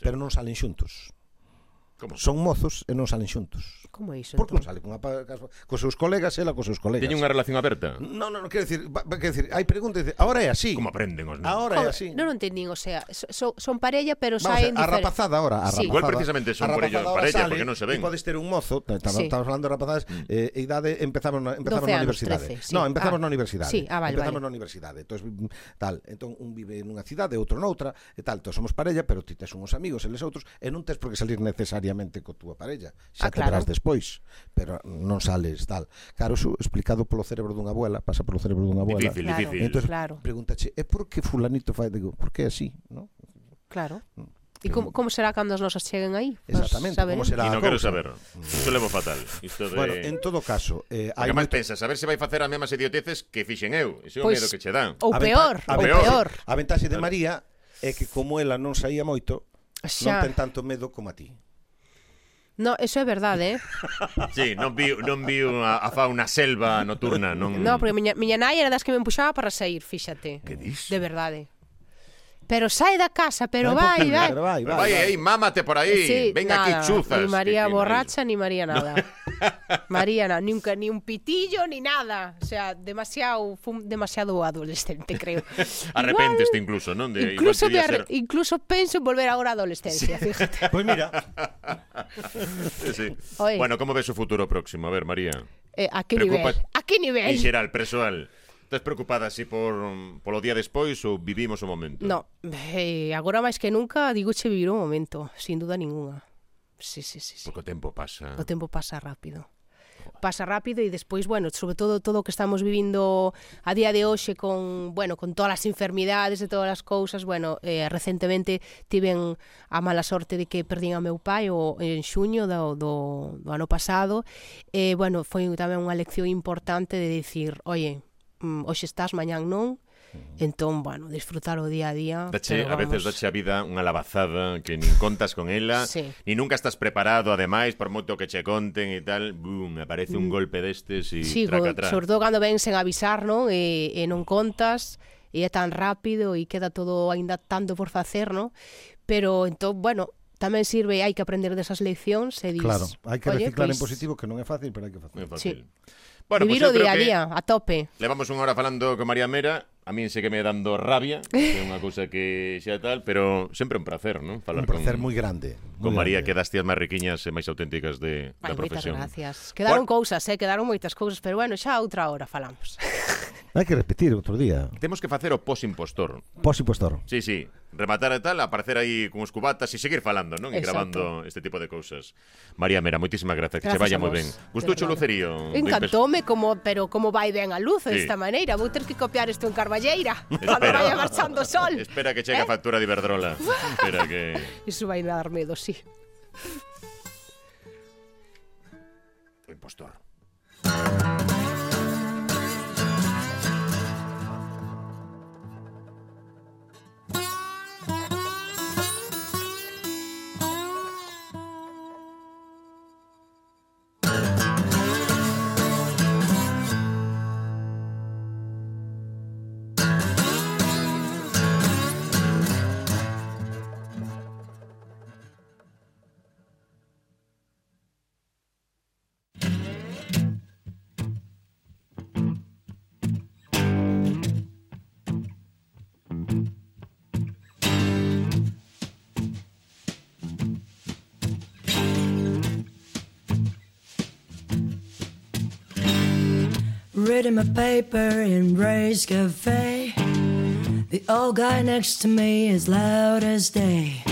pero non salen xuntos.
Como?
Son mozos e non salen xuntos.
Como é iso?
Por que non
entón?
sale con, con seus colegas, ela con seus colegas.
Teñen unha relación aberta.
No, no, no, quero dicir, va- va- quero dicir, hai preguntas, dice, ahora é así.
Como aprenden os nenos.
Ahora é así.
Non o entendín, o sea, so- so- son parella, pero
Vamos a,
saen
ver, a
diferentes.
rapazada ahora, a rapazada.
Sí.
Igual precisamente son
a
por ello-
rapazada
para ella,
sale
porque non se
e
ven. Mm.
podes ter un mozo, t- estamos,
Sí.
estamos falando de rapazadas, eh, e idade empezamos na, empezamos
12
na
anos,
universidade.
13, sí.
No, empezamos
Ah.
na universidade.
Sí, ah, vale,
empezamos
vale.
na universidade. Entón, mm, tal, entón un vive nunha cidade, outro noutra, e tal, todos somos parella, pero ti tes uns amigos, eles outros, e non tes por que salir necesariamente co túa parella. Xa
Ah, claro.
terás despois, pero non sales tal. Claro, iso explicado polo cerebro dunha abuela, pasa polo cerebro dunha abuela.
Difícil,
Claro.
difícil.
Entón,
Claro.
pregúntache, é por que fulanito fai? Digo, por que así, non?
Claro. E como, como será cando as nosas cheguen aí? Nós
Mm. Exactamente, como
saberemos.
será
E
a
non quero
cousa?
saber. Isto levo fatal. Isto de...
Bueno, en todo caso, eh,
Porque
hai
máis
moito-
pensas, a ver se vai facer as mesmas idioteces que fixen eu. Ese é o
Pois,
medo que che dan.
Ou
a venta-
peor,
a
ou
peor.
peor.
A ventaxe de María é que como ela non saía moito, non
Xa.
ten tanto medo como a ti.
No, eso é verdade, eh?
Sí, non vi, non vi a, a fauna selva nocturna. Non...
No, porque miña, miña nai era das que me empuxaba para sair,
Mm.
fíxate.
Que dis?
De verdade. Pero sai da casa, pero
Non é
vai,
imposible,
vai.
pero
Vai, vai, aí, mámate por aí.
Sí,
Venga
nada,
aquí, chuzas.
Ni
Que-
María
que-
borracha, ni María nada. María, na, nunca, ni un pitillo, ni nada. O sea, demasiado, fue un- demasiado adolescente, creo.
Arrepénteste incluso, non? De,
incluso, me
igual
arre-
debía
incluso penso en volver agora á adolescencia, fíjate.
Pois mira,
ser... sí.
Oye.
Bueno, como ves o futuro próximo? A ver, María.
Eh, a que nivel?
Preocupa-
A que
En
nivel?
xeral, persoal. Estás preocupada así por um, polo día despois ou vivimos o momento?
No, eh, agora máis que nunca digo che vivir un momento, sin duda ninguna. Sí, sí, sí, sí.
Porque o tempo pasa.
O tempo pasa rápido. Pasa rápido e despois, bueno, sobre todo todo o que estamos vivindo a día de hoxe con, bueno, con todas as enfermidades e todas as cousas, bueno, eh, recentemente tiven a mala sorte de que perdín a meu pai o en xuño do, do, do ano pasado e, bueno, foi tamén unha lección importante de dicir, oye, mm, hoxe estás, mañán non, entón, bueno, disfrutar o día a día.
Dache,
pero
a veces
vamos.
dache a vida unha labazada que nin contas con ela,
Sí.
ni nunca estás preparado, ademais, por moito que che conten e tal, boom, aparece un golpe destes e
Mm. Sí,
traca
go-
atrás.
sobre todo cando ven sen avisar, non? E, e non contas, e é tan rápido e queda todo aínda tanto por facer, non? Pero entón, bueno, tamén sirve, hai que aprender desas leccións e dis,
claro, hai que
"Oye,
reciclar en
pois,
positivo que non é fácil, pero hai que
Moi
facer.
fácil.
Sí.
Bueno,
vivir
pois eu
o
creo
día a
que
día, a tope.
Levamos unha hora falando con María Mera, a min sei que me dando rabia, que é unha cousa que xa tal, pero sempre un placer, non?
Un
Falar
placer
con,
moi grande.
con
moi
María, que
grande.
das tías máis riquiñas e máis auténticas de,
Ai,
da
moitas
profesión.
gracias. Quedaron cousas, eh? Quedaron moitas cousas, pero bueno, xa outra hora falamos.
Hai que repetir outro día.
Temos que facer o pos-impostor.
Pos e postor.
Sí, sí. Rematar e tal, aparecer aí con os cubatas e seguir falando, non? E
Exacto.
grabando este tipo de cousas. María Mera, moitísimas gracias, que
Gracias
che vaya
a
moi
vos,
ben.
de
Gustucho o
verdade.
lucerío. do
Encantoume como, pero como vai ben a luz
Sí.
desta maneira. Vou ter que copiar isto en Carballeira, cando
Espera.
vaya marchando o sol.
Impes- Espera que chegue a
Eh?
factura de Iberdrola. Espera que...
Iso vai dar medo, sí.
O impostor.
Reading my paper in Ray's Cafe. The old guy next to me is loud as day.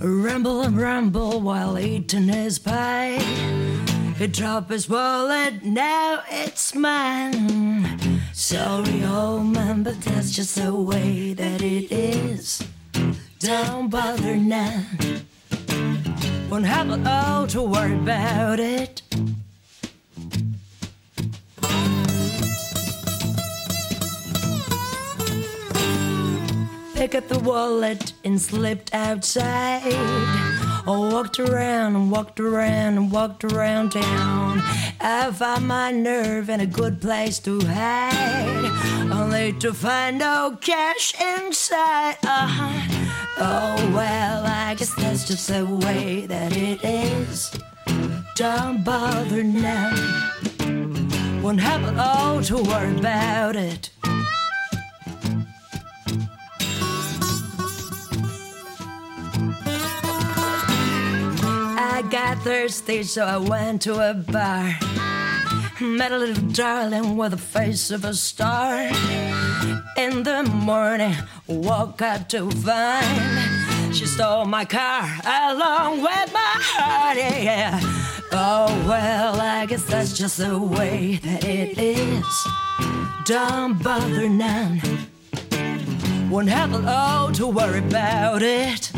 Ramble and ramble while eating his pie. He dropped his wallet, now it's mine. Sorry, old man, but that's just the way that it is. Don't bother now. Won't have it all to worry about it. Picked the wallet and slipped outside. I walked around and walked around and walked around town. I found my nerve and a good place to hide, only to find no cash inside. Uh-huh. Oh well, I guess that's just the way that it is. Don't bother now. Won't have it all to worry about it. I got thirsty, so I went to a bar. Met a little darling with the face of a star. In the morning, woke up to find she stole my car along with my heart. Yeah. Oh well, I guess that's just the way that it is. Don't bother none. Won't have a lot to worry about it.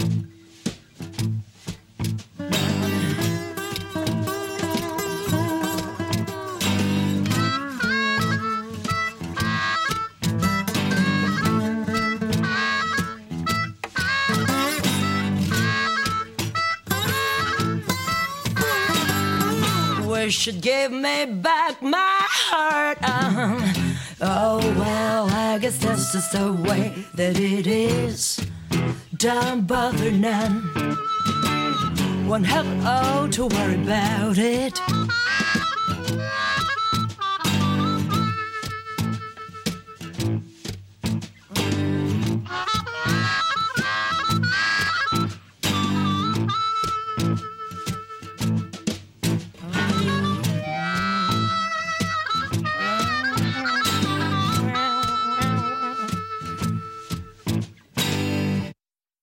wish you'd give me back my heart. Uh-huh. Oh well, I guess that's just the way that it is. Don't bother none. Won't have oh to worry about it.